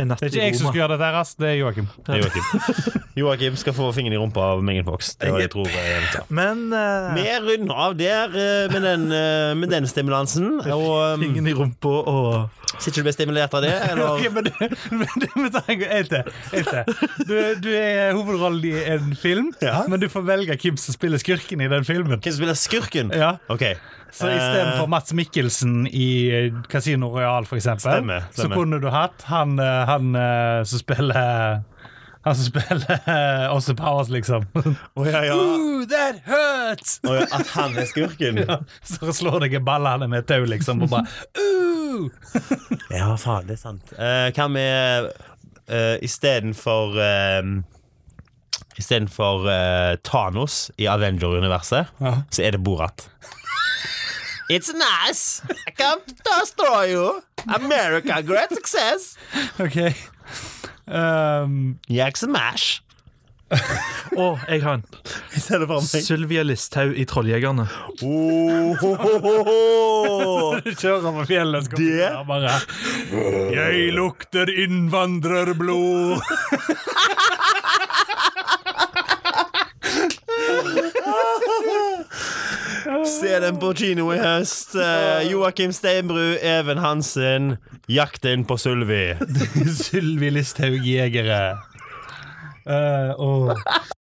En natt
Det
i
er ikke jeg som
Roma.
skulle gjøre dette, her, ass. det er Joakim.
Det er Joakim. Joakim skal få fingeren i rumpa av Megan Fox. Det var jeg tror jeg vil ta.
Men eh,
Vi runder av der eh, med den, eh, med den stimulansen. Og um,
ingen i rumpa og
Sitter du og blir stimulert av det, eller?
Ok, men du, men du, men ta en en til. en til. Du, du er hovedrollen i en film, men du får velge hvem som spiller skurken i den filmen.
Hvem som spiller skurken?
Ja,
Ok,
Så
Eh.
istedenfor Mats Mikkelsen i eh, Casino Royal, for eksempel,
Stemmer, stemmer.
så kunne du hatt han, eh, han eh, som spiller han som spiller eh, Åse Powers, liksom.
Å, ja, ja.
Ooh, that hurts!
Å, ja, Eh, At han er skurken?
Så slår deg i ballene med et tau, liksom, og bare Ooh!
Ja, faen, det er sant. Eh, Hva med uh, istedenfor uh, Istedenfor eh, Thanos i Avenger-universet,
Ja.
så er det Borat. It's nice. I can't destroy you. America, great success.
OK. Um,
Jeg smash.
Å, jeg har en.
Istedenfor
Sylvia Listhaug i Trolljegerne.
du kjører på fjellet, så
Det-
kommer du der bare Jeg lukter innvandrerblod.
Se den på kino i høst. Eh, Joakim Steinbru, Even Hansen, 'Jakten på Sylvi'.
Sylvi Listhaug jegere. Eh, åh.